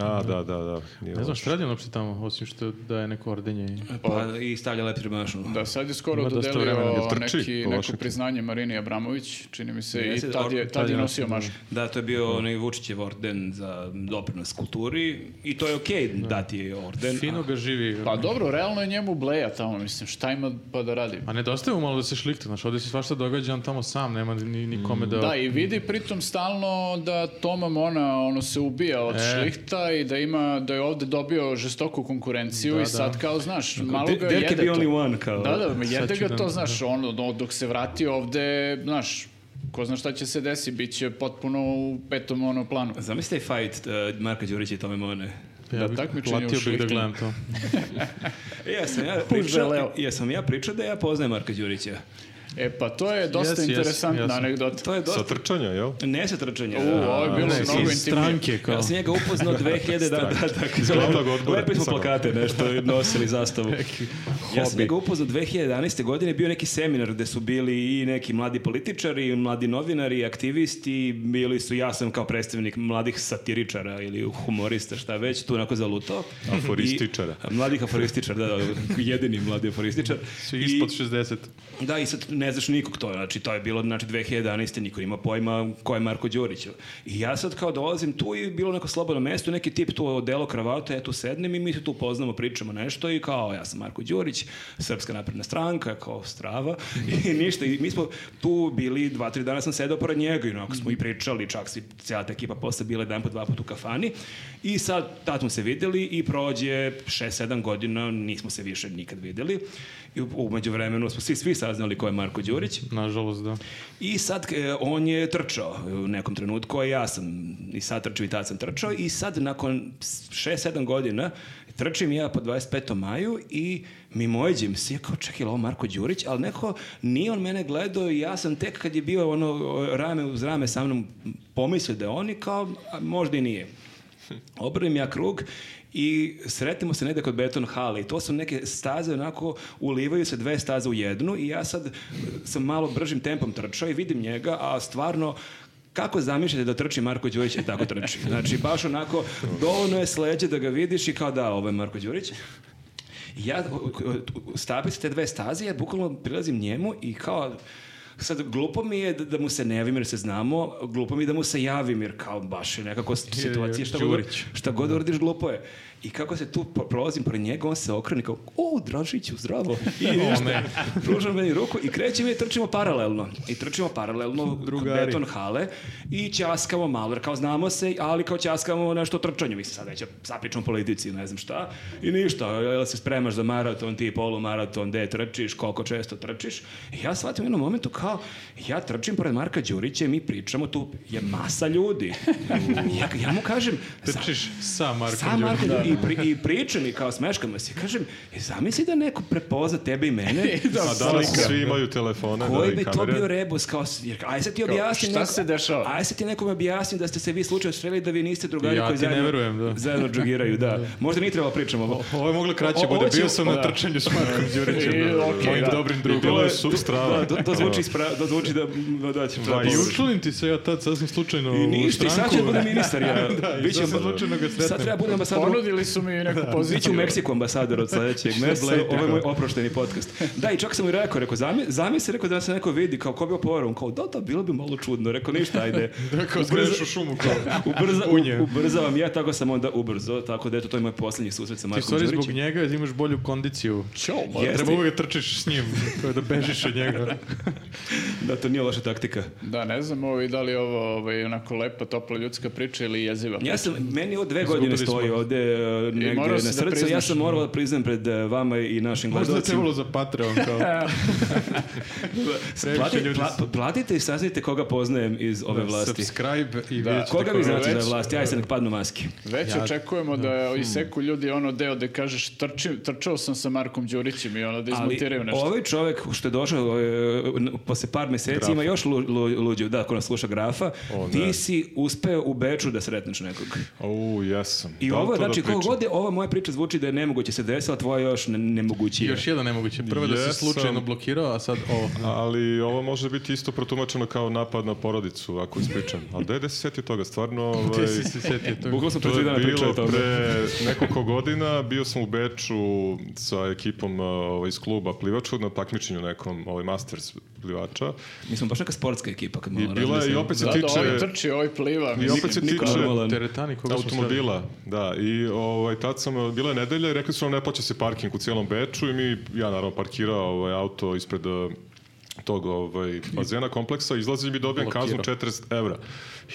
A, da, da, da. Nije Ne loše. znam šta radi on uopšte tamo, osim što daje neko ordenje. i- pa, i stavlja lep primašnu. Da, sad je skoro Ima dosta vremena, dodelio jel trči neki, po neko Washingtonu? priznanje Marini Abramović, čini mi se, Jeste, i tad je, or- tad je nosio mašu. Da, to je bio onaj Vučićev orden za doprinos kulturi i to je okej dati je orden. Fino ga živi. Pa dobro, realno je njemu bleja tamo, mislim, šta ima pa da radi? A nedostaje mu malo da se šlikta, znaš, ovdje se svašta događa, on tamo sam, nema ni, ni kome da... Da, i vidi pritom stalno da Toma Mona ono, se ubija E. od šlihta i da, ima, da je ovde dobio žestoku konkurenciju i sad kao, znaš, malo There- ga there can jede be to. only one, kao. Da, da, Sad jede ću ga da- to, znaš, ono, no, dok se vrati ovde, znaš, ko zna šta će se desi, bit će potpuno u petom ono planu. Zamislite fight uh, Marka Đurića i Tome Mone. da, bi- takmičenje u Platio bih da šlihtanju. gledam to. Ja sam ja želeo. pričao, ja sam ja pričao da ja poznajem Marka Đurića. E pa to je dosta Jes, jes, interesantna jes. anegdota. To je Sa dosta trčanja, jel? ne se trčanje. U, ovo je bilo Ne, mnogo intimnije. iz stranke, kao. Ja sam njega upoznao 2000 da, da, Iz da, glavnog odbora. Lepi smo Samo. plakate nešto i nosili zastavu. ja sam njega upoznao 2011. godine, bio neki seminar gde su bili i neki mladi političari, i mladi novinari, i aktivisti, bili su, ja sam kao predstavnik mladih satiričara ili humorista, šta već, tu onako zalutao. Aforističara. I- mladih aforističara, da, da, jedini mladi aforističar. Svi I- ispod 60. da, i sad ne znaš nikog to, znači to je bilo znači 2011. niko ima pojma ko je Marko Đurić. I ja sad kao dolazim tu i bilo neko slobodno mesto, neki tip tu delo kravata, ja tu sednem i mi se tu poznamo, pričamo nešto i kao ja sam Marko Đurić, Srpska napredna stranka, kao strava i ništa. I mi smo tu bili, dva, tri dana sam sedao pored njega i onako smo i pričali, čak svi, cijela ta ekipa posle bila jedan po dva put u kafani i sad tad smo se videli i prođe 6-7 godina, nismo se više nikad videli i u- umeđu vremenu smo svi, svi saznali ko je Marko Đurić Nažalost, da. i sad e, on je trčao u nekom trenutku, a ja sam i sad trčao i tad sam trčao i sad nakon 6-7 godina trčim ja po 25. maju i mimoiđem se, ja kao čekaj, je li ovo Marko Đurić, ali neko nije on mene gledao i ja sam tek kad je bio ono o, rame uz rame sa mnom pomislio da je on i kao a, možda i nije. Obrnem ja krug i sretimo se negde kod beton hale i to su neke staze onako ulivaju se dve staze u jednu i ja sad eh, sam malo bržim tempom trčao i vidim njega, a stvarno kako zamišljate da trči Marko Đurić, e, tako trči. Znači, baš onako, dovoljno je sleđe da ga vidiš i kao da, ovo je Marko Đurić. I Ja, u- u- u- stapiti te dve staze, ja bukvalno prilazim njemu i kao, Sad, glupo mi je da, da mu se ne javim jer se znamo, glupo mi je da mu se javim jer kao baš je nekako situacija šta god, Đurić. šta god uradiš glupo je. I kako se tu po- prolazim pored njega, on se okrene kao, o, Dražiću, zdravo. I ništa, pruža meni ruku i kreće mi i trčimo paralelno. I trčimo paralelno u Drugari. beton hale i ćaskamo malo, jer kao znamo se, ali kao ćaskamo nešto o trčanju. Mislim, sad već zapričamo o politici, ne znam šta. I ništa, jel se spremaš za maraton, ti polumaraton, gde trčiš, koliko često trčiš. I ja shvatim u jednom momentu kao, ja trčim pored Marka Đurića i mi pričamo, tu je masa ljudi. ja, ja mu kažem, "Za- Trčiš sa Markom sa Marko Đurićem. i, pri, i pričam i kao smeškamo se. Kažem, "E, zamisli da neko prepozna tebe i mene. I da A danas svi imaju telefone, da, Koji i bi to kamere. bio rebus? Kao, s- jer, aj sad ti Kao, objasni. šta se dešava? Aj sad ti nekom objasni da ste se vi slučajno sreli da vi niste drugari Ja koji ti ne zajedno, verujem, da. zajedno džogiraju. Da. Možda nije trebalo pričamo. ovo. Ovo je moglo kraće O- bude. ovo će- Bio sam da. na trčanju s Markom Đurićem. I, da, da, da. E, okej, Mojim da. dobrim I bilo drugom. je substrava. Da, to, to zvuči, ispra- to zvuči da, da će Pa jučlim ti se ja tad sasvim slučajno I u ništa, i sad stranku. ću da budem ministar. Ja. Da, i Biću- sasvim slučajno ga Sad treba sretnem. budem ambasador u- Ponudili su mi neku poziciju. Biću u Meksiku ambasador od sledećeg mjeseca, Blade, ovo je tako. moj oprošteni podcast. Da, i čak sam mu i rekao, rekao, zami, zamisli, rekao da se neko vidi, kao ko bi opovarao, On kao da, da, bilo bi malo čudno, rekao ništa, ajde. Kao skreneš u šumu. Kao. Ubrza, Unje. u, ubrzavam ja, tako sam onda ubrzao, tako da eto, to je moj posljednji susret sa Ti Markom stvari zbog Đurićem. njega imaš bolju kondiciju. Ćao, ma. Jeste. Treba uvek da trčiš s njim, kao da bežiš od njega. Da, to nije loša taktika. Da, ne znam ovaj, da li je ovo ovaj, onako lepa, topla ljudska priča ili jeziva. Ja sam, meni od dve godine Izgubili smo. stoji ovde e, negde morao na si da srcu, ja priznaš. sam morao da priznam pred e, vama i našim Možda je gledalcima. trebalo za Patreon. Kao. Previše Plati- ljudi pla- platite i saznajte koga poznajem iz ove vlasti. Subscribe i Da. vidjet ćete Koga ko vi je. znate da je već- vlast? Ja se nek padnu maske. Već očekujemo da iseku ljudi ono deo da kažeš trčim, trčao sam sa Markom Đurićem i ono da Ali izmontiraju nešto. ovaj čovjek što je došao e, n- posle par mjeseci ima još lu, lu- luđu, da, ko nas sluša grafa, O, ti ne. si uspeo u Beču da sretneš nekog. Au, jesam. I Da li ovo, to da znači, kako pričam? god je ova moja priča zvuči da je nemoguće se desila, tvoja još ne, nemogućije. Još jedan nemoguće. Prvo da si Jesam. slučajno blokirao, a sad ovo. Ali ovo može biti isto protumačeno kao napad na porodicu, ako ispričam. Ali dede se sjetio toga, stvarno... Ovaj, Ti si se sjetio toga. Bukvalno smo pre to tri dana je pričali o bilo tome. pre nekoliko godina. Bio sam u Beču sa ekipom ovaj, iz kluba plivaču na takmičenju nekom ovaj, masters plivača. Mi smo baš neka sportska ekipa kad I malo bila je, i razmislimo. opet se da, da, ovaj tiče... trči, ovaj pliva. I mislim. opet se Nikola tiče... Roman. Teretani koga smo sreli. Automobila, da. I ovaj, tad sam, eh, bila je nedelja i rekli su nam ne plaća se parking u cijelom Beču i mi, ja naravno parkirao ovaj, auto ispred eh, tog ovaj, bazena kompleksa, izlazim i dobijem kaznu 40 evra.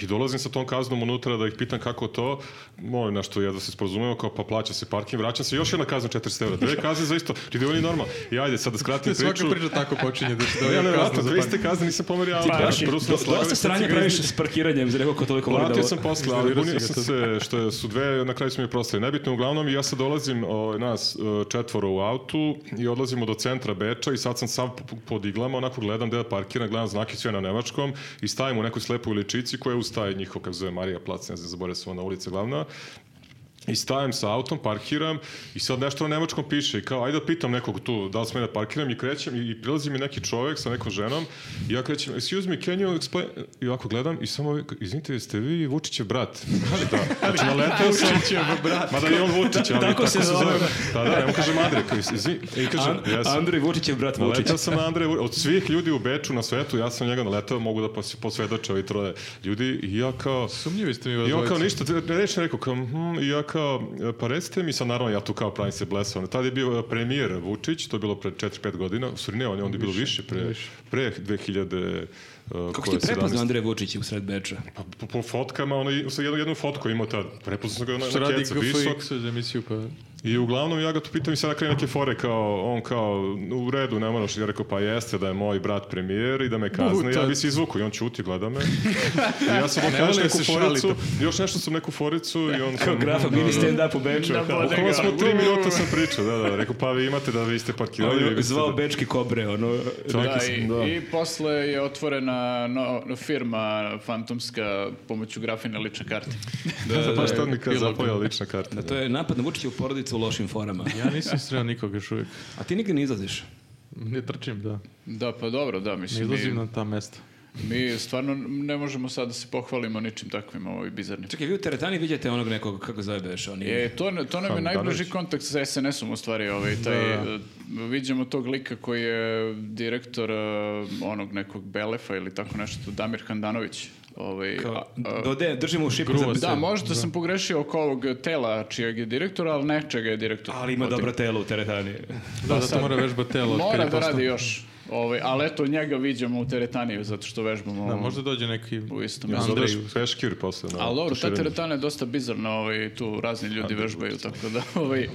I dolazim sa tom kaznom unutra da ih pitam kako to, molim na što jedva se sporozumemo, kao pa plaća se parking, vraćam se još jedna kazna 40 evra, dve kazne za isto, ljudi oni normalno. I ajde sad da skratim Svaka priču. priča tako počinje da se Ja, dobija nevjerojatno, kaznu za dve iste parking. kazne nisam pomerio, ali Pa, da, znači, Bruce do- nas lagao dosta kad sranja se praviš s parkiranjem, za neko ko toliko voli da Platio vo- sam posle, ali Iznervirao bunio si ga sam sad. se što su dve, na kraju smo mi prostali nebitno. Uglavnom, ja sad dolazim, o, nas e, četvoro u autu i odlazimo do centra Beča i sad sam sav po- po diglama, onako gledam gde da parkiram, gledam znake sve na nemačkom i stavim u nekoj slepoj ličici koja je uz taj njihov, kako zove Marija Plac, ne znam, zaboravio sam ona ulica glavna. I stajem sa autom, parkiram i sad nešto na nemačkom piše i kao ajde da pitam nekog tu da li smem da parkiram i krećem i, i prilazi mi neki čovjek sa nekom ženom i ja krećem excuse me can you explain i ovako gledam i samo izvinite jeste vi Vučićev brat znači da znači naletao sam brat mada je on Vučić ali tako, se zove Pa da da ne kažem Andrej kao, izvin i kažem An- jesam Andrej Vučićev brat Vučić. Naletao sam na Andreja Vu- od svih ljudi u Beču na svetu, ja sam njega naletao, mogu da pos- posvedoče ovi troje ljudi i ja kao... Sumnjivi ste mi vas I on kao dvojica. ništa, ne reći rekao, kao, mhm, i ja kao, e, pa recite mi, sad naravno ja tu kao pravim se blesavan. Tad je bio e, premijer Vučić, to je bilo pre 4-5 godina, u stvari ne, on je onda bilo više, pre, pre 2000... e, Kako koje, ti prepoznao 17? Andrej Vučić u sred Beča? Pa, po, po fotkama, ono, i- sa jednu, jednu fotku je imao tad. Prepoznao sam ga na, Što na radi kecu, visok, GFX za emisiju pa... i uglavnom ja ga tu pitam i sad nakrije neke fore kao, on kao, u redu, ne moraš. Ja rekao, pa jeste da je moj brat premijer i da me kazne. Buta. ja bi se izvuku i on čuti, gleda me. I ja sam mu Ne kažem volim neku se foricu, šaliti. još nešto sam neku foricu i on... ono, Kao Grafa, mini stand-up u Beču. Da, bode Bukvalno ga. smo tri minuta sam pričao, da, da. Rekao, pa vi imate da vi ste parkirali. On vi je biste zvao da- Bečki kobre, ono... Čak Da, i- i, da. i posle je otvorena no- firma fantomska pomoću grafine lične karte. Da, da, baš tad mi kad bilo bi. zapojao lična karta. Da, to je napad na Vučića u porodicu u lošim forama. Ja nisam sreo nikoga još uvijek. A ti nigdje ne izlaziš. Ne trčim, da. Da, pa dobro, da, Ne mislim. izlazim i- na ta mesta. Mi stvarno ne možemo sad da se pohvalimo ničim takvim ovaj bizarnim. Čekaj, vi u teretani vidite onog nekog, kako zove beš, on je... E, to, to nam je Handanović. najbliži kontakt sa SNS-om u stvari. Ovaj, taj, Da. e, Viđamo tog lika koji je direktor e, onog nekog Belefa ili tako nešto, Damir Handanović. Ovaj, a- Kao, a- dode, držimo u šipu Gruva za... se. da, možda sam pogrešio oko ovog tela čijeg je direktor, ali nečega je direktor. Ali ima Od- dobro telo u teretani. Da, zato mora vežba telo. Mora da radi još. Ovaj, ali eto, njega viđamo u teretaniju zato što vežbamo Da, možda dođe neki... u istom. Ja Andrej. zoveš peškir posle. Na Ali dobro, ta tuširanju. teretana je dosta bizarna, ovaj, tu razni ljudi vežbaju, tako da ovaj,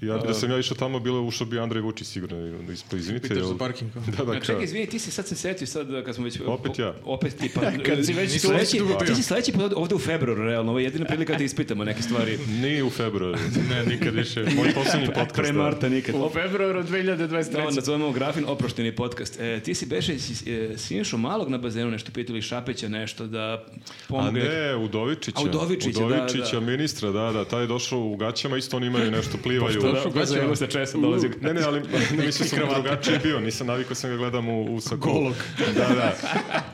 Ja bi da sam ja išao tamo, bilo ušao bi Andrej Vučić sigurno. Ispo, izvinite. Pitaš jel- za parking. kao. Da, da, A čekaj, kao. izvini, ti si sad se setio sad kad smo već... Opet ja. Opet ti, pa... Kad si već Nisi tu, sledeći- već dugo Ti si sledeći put ovde u februaru, realno. Ovo je jedina prilika da ispitamo neke stvari. Nije u februaru. Ne, nikad više. Moj poslednji podcast. da. Pre Marta nikad. u februaru 2023. Da, nazovemo grafin oprošteni podcast. E, ti si beše si, e, Sinišu Malog na bazenu nešto pitao ili Šapeća nešto da A pomogne. ne, Udovičića. A Udovičića, da, da. ministra, da, da. Taj je došao u gaćama, isto oni imaju nešto, plivaju. Da, u Gazelu se često dolazi. Ne, ne, ali ne mislim sam drugačije bio, nisam navikao sam ga gledam u, u sakou. Golog. Da, da.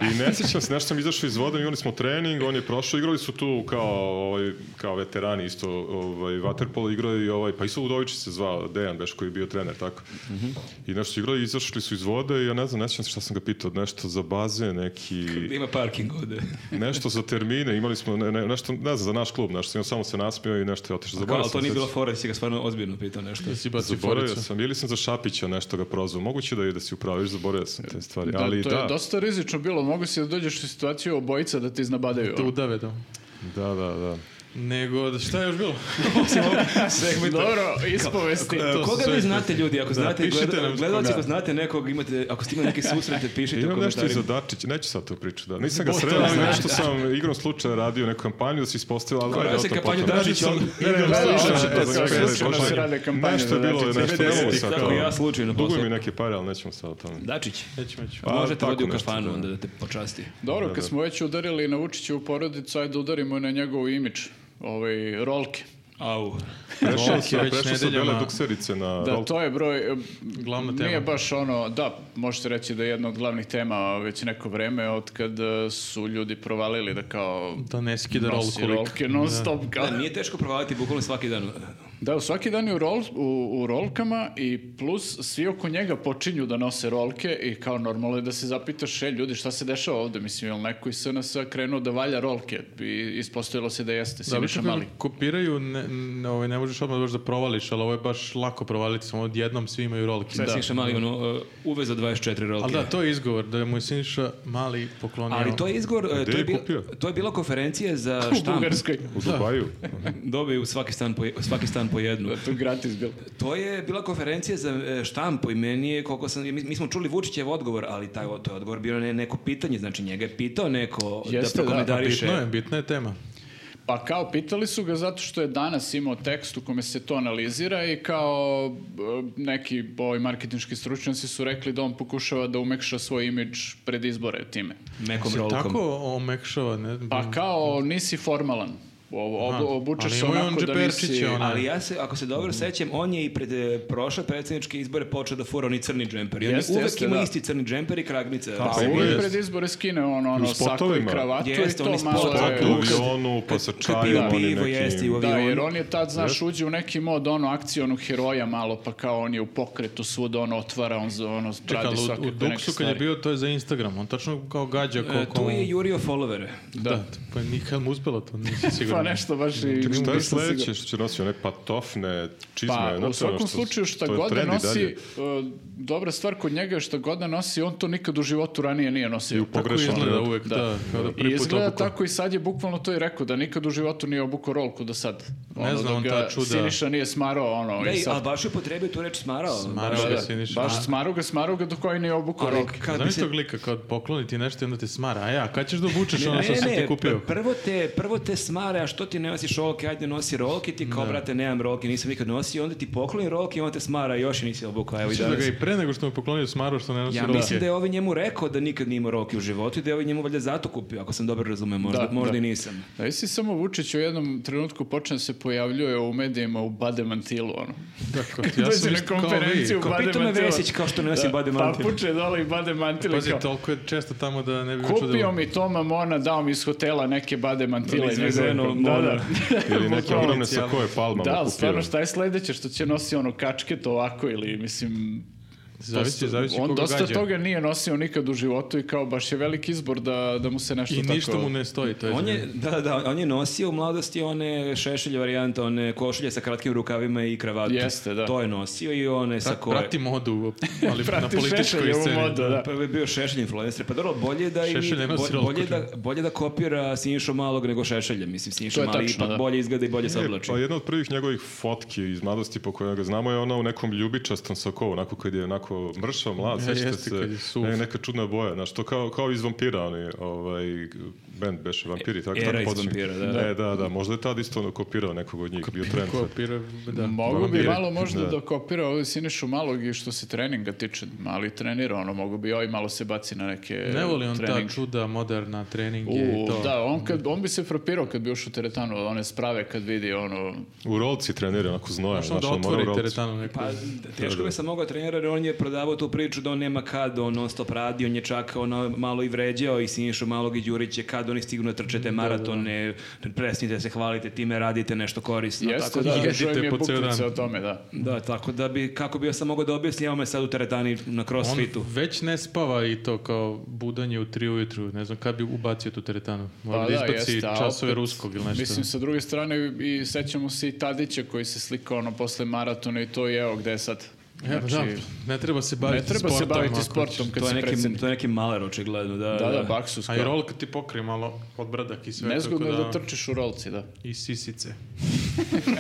I ne sjećam se, nešto sam izašao iz vode, imali smo trening, on je prošao, igrali su tu kao, ovaj, kao veterani isto, ovaj, vaterpolo igrao i ovaj, pa isto Udovičić se zvao, Dejan Beš koji je bio trener, tako. Mhm. I nešto igrali, izašli su iz vode i ja ne znam, ne sjećam se šta sam ga pitao, nešto za baze, neki... Ima parking ovde. Nešto za termine, imali smo ne, ne, nešto, ne znam, za naš klub nešto, i on samo se nasmio i nešto je otišao. Kao, Zaboravio ali to sam nije sad. bilo fora, si ga stvarno ozbiljno pitao nešto. Da si bacio Zaboravio foricu. sam, ili sam za Šapića nešto ga prozvao, moguće da je da si upraviš, zaboravio sam te stvari, Da, ali to da, je dosta rizično bilo, mogu si da dođeš u situaciju obojica da ti iznabadaju. ovaj, Te udave da. da, da, da. Nego, da, šta je još bilo? Dobro, ispovesti. E, To su Koga sve vi isto. znate ljudi, ako Da, znate, pišite gleda- nam gledalci, koga. ako znate nekog, imate, ako ste imali neke susrete, pišite u Imam nešto i za komentarima. Dačića, neću sad to priču, da. Nisam ga sreo, ali nešto sam igrom slučaja radio neku kampanju da se ispostavio, ali Kao, ajde ja o se tom kampanju potom. Dačića, ali- Ne, ne, Slušaj, hoće da, da za se- pet, hoće da se možda. rade kampanje Znači, Nešto je za bilo, Dačića. nešto ne mogu sad. Tako kao. ja slučajno Duguju posle. mi neke pare, ali nećemo sad o tome. Dačić, Neću, neću. Pa, možete tako vodi u nešto, kafanu, da. onda da te počasti. Dobro, kad smo već udarili na Vučićevu porodicu, ajde da udarimo i na njegov imidž, ovaj, rolke. Au. Prešao Rolke sam, već prešao sam nedeljama. bele dukserice na Pa Da, rolku. to je broj... e, Glavna Nije tema. baš ono, da, možete reći da je jedna od glavnih tema već neko vreme od kad e, su ljudi provalili da kao Da ne skida rol nosi kolik. rolke non stop. kao. Da, nije teško provaliti bukvalno svaki dan. Da, svaki dan je u, rol, u, u rolkama i plus svi oko njega počinju da nose rolke i kao normalno je da se zapitaš, e ljudi šta se dešava ovde, mislim, jel neko iz SNS-a krenuo da valja rolke i ispostavilo se da jeste, Da, više Siniša Mali. kopiraju, ne, ne, ovaj, ne možeš odmah baš da provališ, ali ovo je baš lako provaliti, samo odjednom svi imaju rolke. Sve da. Siniša Mali, ono, uh, uve za 24 rolke. Ali da, to je izgovor, da je mu je Siniša mali poklonio. Ali to je izgovor, uh, Gde to je, je bil- kupio? to je bila konferencija za U štamp. Bugarskoj. U Dubaju. Dobiju svaki stan, po, je- svaki stan po jednu. Da, to je gratis bilo. To je bila konferencija za e, štampu i meni je, koliko sam, mi, mi smo čuli Vučićev odgovor, ali taj, o- to je odgovor bio ne, neko pitanje, znači njega je pitao neko Jeste, da da, prokomentariše. Bitno je, bitna je tema. Pa kao, pitali su ga zato što je danas imao tekst u kome se to analizira i kao e, neki ovi marketinški stručnjaci su rekli da on pokušava da umekša svoj imidž pred izbore time. Nekom Se rolkom. tako omekšava, ne? Pa kao nisi formalan. O- Mm. Aha, ob- obučeš ali se imao je on onako da nisi... džeperčiće, ona. Ali ja se, ako se dobro Mhm. sećam, on je i pred e, prošle predsjedničke izbore počeo da fura oni crni džemper. I on je Jeste, uvek jeste, ima da. isti crni džemper i Dakle, kragnica. Pa Pa uvijek jest. pred izbore skine on ono U sako i spotovima. kravatu Jeste, i to oni malo spotovi. je... U avionu, pa sa Kad piju čajom, oni pivo, jeste i u nekim... avionu. Da, jer on je tad, znaš, uđe u neki mod, ono, akcionu heroja malo, pa kao on je u pokretu svuda, ono, otvara, on, za- ono, Čekaj, radi ali u, svakakve u neke Duksu kad je stvari. bio, to je za Instagram, on tačno kao gađa ko... E, tu je jurio followere. Da, pa nikad mu uspelo to, nisam siguran. Pa nešto baš i... Čekaj, šta je nisam siguran. sledeće što će nositi? One patofne čizme? Pa, ne, u svakom ono što- slučaju šta to je god da trend i nosi, dalje. e, dobra stvar kod njega je šta god da nosi, on to nikad u životu ranije nije nosio. Tako Pogrešan izgleda trenut. uvek, da. kao da I prvi put izgleda obuko. tako i sad je bukvalno to i rekao, da nikad u životu nije obuko rolku do sad. Ne Ono, znam, dok on ga ta čuda- Siniša nije smarao, ono, Da, i i- sad... ali baš je upotrebio tu reč smarao. Smarao. Baš- Evo Da, ga, da, Siniša. baš A- smaru ga, smaru ga do koji nije obuko Ali rolke. kad bi Zamisli se tog lika, kao pokloni ti nešto i onda ti smara, a ja, kad ćeš da obučeš Ne, ono ne, što si ne, ti kupio? pr- prvo te, prvo te smara, a što ti ne nosiš rolke, ajde nosi rolke, ti kao, brate, nemam rolke, nisam nikad nosio, onda ti pokloni rolke i on te smara, još i nisi obukao, evo i Mislim da ga danas. i pre nego što mu poklonio smaru što ne nosi Ja rolke. mislim da je ovaj njemu rekao da nikad nije imao roke u životu i da je ovaj njemu valjda zato kupio, ako sam dobro razumeo, možda, Da, možda da. i nisam. Da si samo Vučić u jednom trenutku počne da se pojavljuje u medijima u bademantilu, ono. Tako, ja Dođe sam na isto kao konferenciju vi. u Kao pita me bademantila. Vesić kao što ne nosi bademantil. Papuče dole i bademantil. Pazi, kao, toliko je često tamo da ne bi Kupio čudilo. mi Toma Mona, dao mi iz hotela neke bademantile. Ono izvezeno njegove." od Mona. Ili neke Bukvalno. ogromne sakoje palma Da, mu ali stvarno kupio. šta je sledeće što će nosi ono kačket ovako ili mislim... Zavisi, dosta- zavisi on koga dosta gađa. toga nije nosio nikad u životu i kao baš je veliki izbor da, da mu se nešto I tako... ništa mu ne stoji, to je. On je, da, da, da, on je nosio u mladosti one šešelje varijante, one košulje sa kratkim rukavima i kravatom. Jeste, da. To je nosio i one sa koje... Prati modu, ali na Prati političkoj Šešeljevu sceni. modu, da. Pa je bio Šešelj influencer. Pa dobro, bolje da, i, Šešelj nema bo- sirotku, bolje, da, čovječe. bolje da kopira Sinišu Malog nego Šešelja. Mislim, To Siniša je Mali tačno, ipak da. bolje izgleda i bolje se E, oblači. Pa jedna od prvih njegovih fotki iz mladosti po kojoj ga znamo je ona u nekom ljubičastom sokovu, onako kad je onako mršav, mlad, E, sećate jeste, kad se, je suv. ne, neka čudna boja, znaš, to kao, kao iz vampira, oni, ovaj, band beše vampiri, tako Era tako iz počinje. Vampira, da. E, da, da, možda je tad isto ono kopirao nekog od njih, bio trend. Kopira, da. ono Mogu bi Vampiri. malo možda da, Da. kopira ovdje Sinišu Malog i što se treninga tiče, ali trenira ono, mogu bi ovaj malo se baci na neke Ne voli on ta treninge. čuda, moderna, treninge i U, to. da, on, kad, on bi se frapirao kad bi ušao u teretanu, one sprave kad vidi ono... U rolci trenira, onako znoja, Što znaš, onda on mora u otvori rolci. teretanu neku. Pa, teško bi sam mogao trenirati, jer on je prodavao tu priču da on nema kad, on non stop radi, on je čak ono malo i vređao i Sinišu Malog i Đuriće kad oni stignu da trčete maratone, presnite se, hvalite time, radite nešto korisno. Jeste, tako da, da, da, jedite čujem je po ceo bukvice dan. o tome, da. da, tako da bi, kako bi ja sam mogao da objasnim, evo me sad u teretani na On crossfitu. već ne spava i to kao budanje u tri ujutru. Ne znam kad bi ubacio tu teretanu. Mora Pa da da, izbaci jeste, a časove opet, ruskog ili nešto. Mislim, sa druge strane, i sećamo se i Tadića koji se slikao ono posle maratona i to je evo gde je sad. E, pa Znači, da, ne treba se baviti ne treba sportom. se baviti ako sportom ćeš. kad To je, se neki, predsjednik. to je neki maler, očigledno, da. Da, da, da. baksus. A i kao. rolka ti pokrije malo od brdak i sve. Nezgodno je tako da trčiš u rolci, da. I sisice.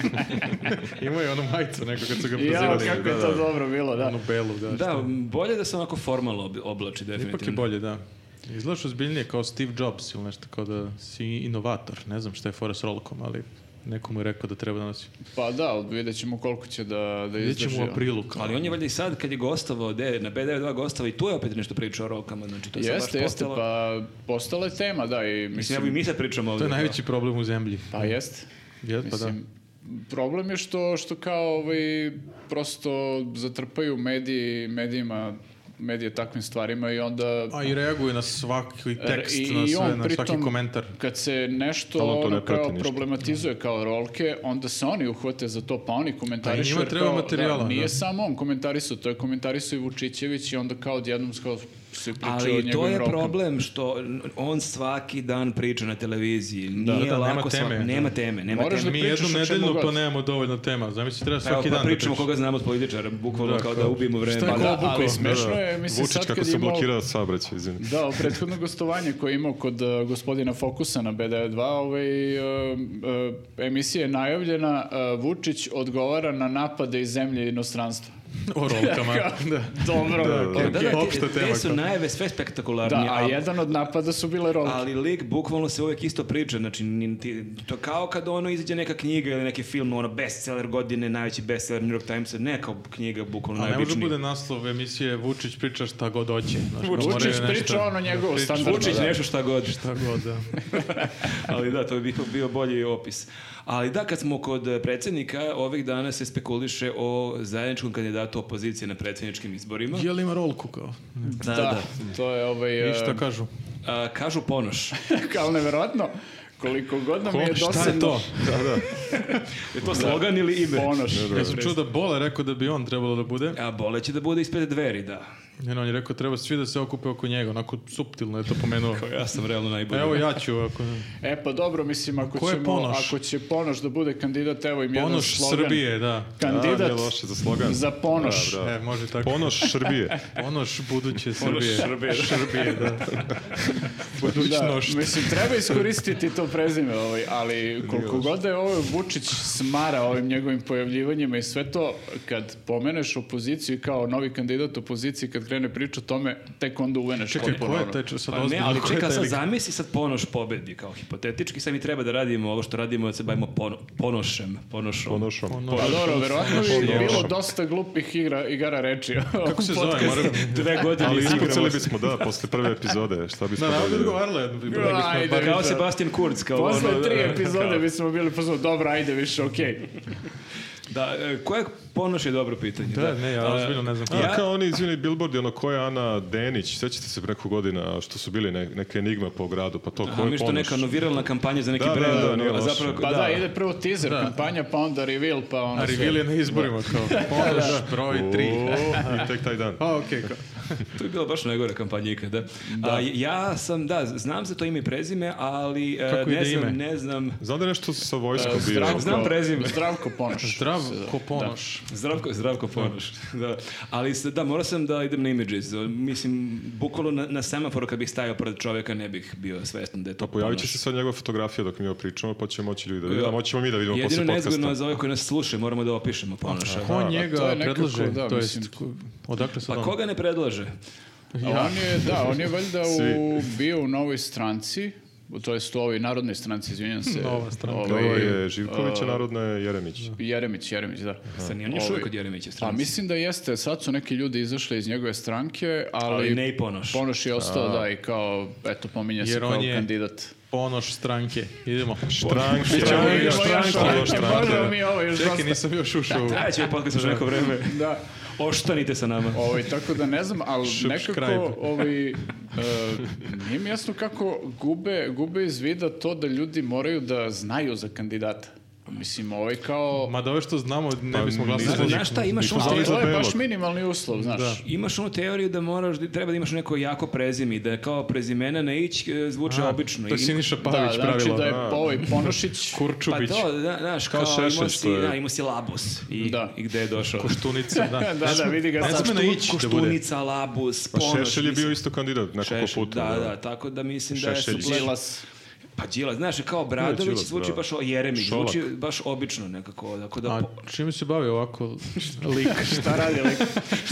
Imao je onu majicu neko kad su ga Ja, prozivali. kako da, je to dobro bilo, da. Ono- Onu belu, da. Da, bolje da se onako formalno ob- oblači, definitivno. Pa Ipak je bolje, da. Izgledaš ozbiljnije kao Steve Jobs ili nešto, kao da si inovator. Ne znam šta je fora s rolkom, ali neko mu je rekao da treba da nosi. Pa da, ali vidjet ćemo koliko će da, da Vidjet izdrži. ćemo u ono. aprilu. Kao. Ali on je valjda i sad kad je gostovao de, na B92 gostava i tu je opet nešto pričao o rokama, znači to je sad Jeste, baš jeste, postalo... pa postala je tema, da, i Mislim, evo i mislim... mi sad pričamo ovdje. To je najveći problem u zemlji. Pa jeste. Ja, pa da. Mislim, problem je što, što kao ovaj, prosto zatrpaju mediji, medijima, medije takvim stvarima i onda... A i reaguje na svaki tekst, E, i- na, i on sve, na svaki pritom- komentar. Kad se nešto Stalno to ono, ne prati kao ništa. problematizuje kao rolke, onda se oni uhvate za to, pa oni komentarišu. Pa i njima jer treba kao, materijala, Da, nije da. samo on komentarisu, to je komentarisu i Vučićević i onda kao odjednom kao se priča o Ali to njegovim je rolkama. problem što on svaki dan priča na televiziji. da, Nije da, nema lako svak- teme, da. Nema teme, nema Moraš teme. Mi pričaš jednom o čemu nedeljno pa god. nemamo dovoljno tema. Zamisli, treba Evo, svaki pa dan pričamo da pričaš. koga znamo od političara, bukvalno Da, kao da kao- ubijemo vreme. Šta je Pa ko da, obukao? ali smešno ono je, mislim, Vučić sad kako kad se je imao- blokirao saobraćaj, izvini. Da, o prethodno gostovanje koje je imao kod e, gospodina Fokusa na BD2, ovaj, e, e, emisija je najavljena, e, Vučić odgovara na napade iz zemlje i inostranstva. O rolkama. da. Dobro, Da, da, ok, da. ok. Da, da, te- Opšta te tema, su kao. najave sve spektakularnije. Da, a a- jedan od napada su bile rolke. Ali lik bukvalno se uvijek isto priča, znači ni- ti- to kao kad ono izađe neka knjiga ili neki film, ono bestseller godine, najveći bestseller New York Timesa, neka knjiga bukvalno A ne može najobičnija. bude naslov emisije Vučić priča šta god hoće. Znaš, Vučić moraju priča nešto- ono njegovo da priča. standardno, Vučić Da. nešto šta god. Šta god, da. Ali da, to bi ipak bio bolji opis. Ali da, kad smo kod eh, predsjednika, ovih dana se spekuliše o zajedničkom kandidatu opozicije na predsjedničkim izborima. Je li ima rolku kao? Da, da, da. to je ovaj... I šta e, kažu? A, kažu ponoš. kao neverovatno, koliko god nam Ko? je dosadno... Šta je to? Je to slogan ili ime? Ponoš. E, Ja sam čuo da Bole rekao da bi on trebalo da bude. A bole će da bude ispred dveri, da. Ne, on je rekao treba svi da se okupe oko njega, onako suptilno je to pomenuo. Ja sam realno najbolji. Evo ja ću ako... E pa dobro, mislim, ako, Ko je ćemo, Ponoš? ako će Ponoš da bude kandidat, evo im jedan Ponoš slogan. Srbije, da. A, nije Kandidat loše za slogan. za Ponoš. Da, da. E, može tako. Ponoš Srbije. Ponoš buduće Srbije. Srbije. Srbije, da. budućnost. mislim, treba iskoristiti to prezime, ovaj, ali koliko god da je ovaj Vučić smara ovim njegovim pojavljivanjima i sve to, kad pomeneš opoziciju i kao novi kandidat opozicije, kad krene priča o tome, tek onda uveneš Čekaj, potpuno, ko je ono. taj čo- sad Pa ne, ozbiljno, ali ko je čeka, taj sad lik? zamisli sad Ponoš pobedi, kao hipotetički, sad mi treba da radimo ovo što radimo, da se bavimo pono- Ponošem, Ponošom. Ponošom. Ono- Pa dobro, verovatno bi Ponošom. bilo dosta glupih igra, igara reči. Kako se zove? Moram... Dve godine Ali izigramo ispucali se. bismo, da, posle prve epizode. Šta bismo Da, da, bi dobili? odgovarala jedno. bi- rekli smo, Ajde, pa- da. Kao Sebastian Kurz, kao ono, Posle tri kao- epizode bismo bili pozvali, dobro, ajde više, okej. Da, e, koja je Ponoš je dobro pitanje. Da, ne, ja ozbiljno ne znam ko A, je. Ja- kao oni, izvini, billboardi, ono, ko je Ana Denić, sećate se preko godina što su bili ne, neke enigma po gradu, pa to, ko A je mi što Ponoš? neka ono viralna kampanja za neki Da, da, brend, da, ono, nije a loše. zapravo, Pa da, da, ide prvo teaser kampanja, pa onda reveal, pa onda A sve. reveal je na izborima kao ponoš broj O, 3. I tek taj dan. A, okej. kao- To je bila baš najgore kampanja ikada. A, ja sam, da, znam za to ime i prezime, ali e, Kako ne ide znam, ime? ne znam. Znam da je nešto sa vojskom E, bio. Zdravko- Znam prezime. Zdravko Ponoš. Zdrav se zove. ko ponoš. Zdravko, Zdravko Ponoš. Da. Ali se- da, morao sam da idem na images. Mislim, bukvalno na, na semaforu kad bih stajao pored čoveka ne bih bio svestan da je to Pa pojavit će Ponoš. se sad njegova fotografija dok mi ovo pričamo, pa će moći ljudi da vide, a moćemo mi da vidimo Jedino posle podcasta. nezgodno za ove koji nas slušaju, moramo da opišemo Ponoša. Ko da, to njega je nekako, predlaže? da, To jest, mislim. ko- odakle sad Pa on? koga ne predlaže? A On je, da, on je valjda u, bio u novoj stranci, u- to jest u ovoj narodnoj stranci, izvinjam se. Nova stranka. Ovo Ovaj, je Živković, a narodno je Jeremić. Jeremić, Jeremić, da. Sad nije on još Ovaj, uvijek od Jeremića Pa stranci. mislim da jeste, sad su neki ljudi izašli iz njegove stranke, ali, Ali ne i Ponoš. Ponoš je ostao, da, i kao, eto, pominje se Jer kao on je- kandidat. Ponoš stranke. Idemo. Trank, Ovo je Idemo još još stranka, ovo. ovo je stranka. Možemo mi ovo još Čekaj, dosta. nisam još ušao u... Trajat će ovaj podcast još neko vreme. Da. Oštanite sa nama. Ovaj, tako da ne znam, ali škrajb. nekako ovaj, e, nije mi jasno kako gube, gube iz vida to da ljudi moraju da znaju za kandidata. Mislim, ovaj kao... Ma da ove što znamo, ne Pa bismo glasili nisam- za njih. Znaš šta, imaš Nismo ono znali Ali za to je baš Belog. minimalni uslov, znaš. Da. Imaš onu teoriju da moraš, da treba da imaš neko jako prezime i da kao prezimena ne ić e, zvuče A, obično. To je I- Siniša Da, Pavić znači Pa pravila. ono, da je da. ovaj Ponošić Pa Kurčubić. to, da, znaš, kao, Kao Šešelj imao što si, je. da, imao si labus i, Da. i gde je došao. Koštunica, da. Da, da, vidi ga Ne sad. sme na ići da bude. Koštunica, labus, Pa ponoš. Šešelj je bio mislim. isto kandidat nekoliko Šešelj, puta. da, da, tako da mislim da je... Šešelj. su- Đilas. Pa Đilas, znaš, kao Bradović Đilas, zvuči da. baš o Jeremić, Šolak. zvuči baš obično nekako. Tako da, A po- čime se bavi ovako lik? Šta radi lik?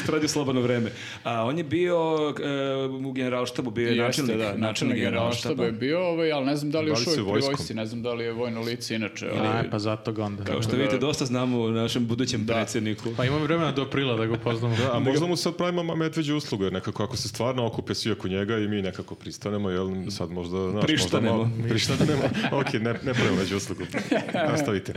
što radi u slobodno vreme. A on je bio e, u generalštabu, bio je Jeste, načelnik, da, načelnik generalštaba je bio, ovaj, ali ne znam da li Da je li još se uvijek pri vojskom? vojsci, ne znam da li je vojno lice inače. Aj, pa zato ga onda. Kao što vidite, dosta znamo o našem budućem predsjedniku. Pa imam vremena do aprila da ga upoznamo. A možda mu sad pravimo ma- medveđu uslugu, jer nekako ako se stvarno okupe svi oko njega i mi nekako pristanemo, jel sad možda... Znaš, Prištanemo. Možda, malo- prištanemo. ok, ne, ne pravimo među uslugu. Nastavite.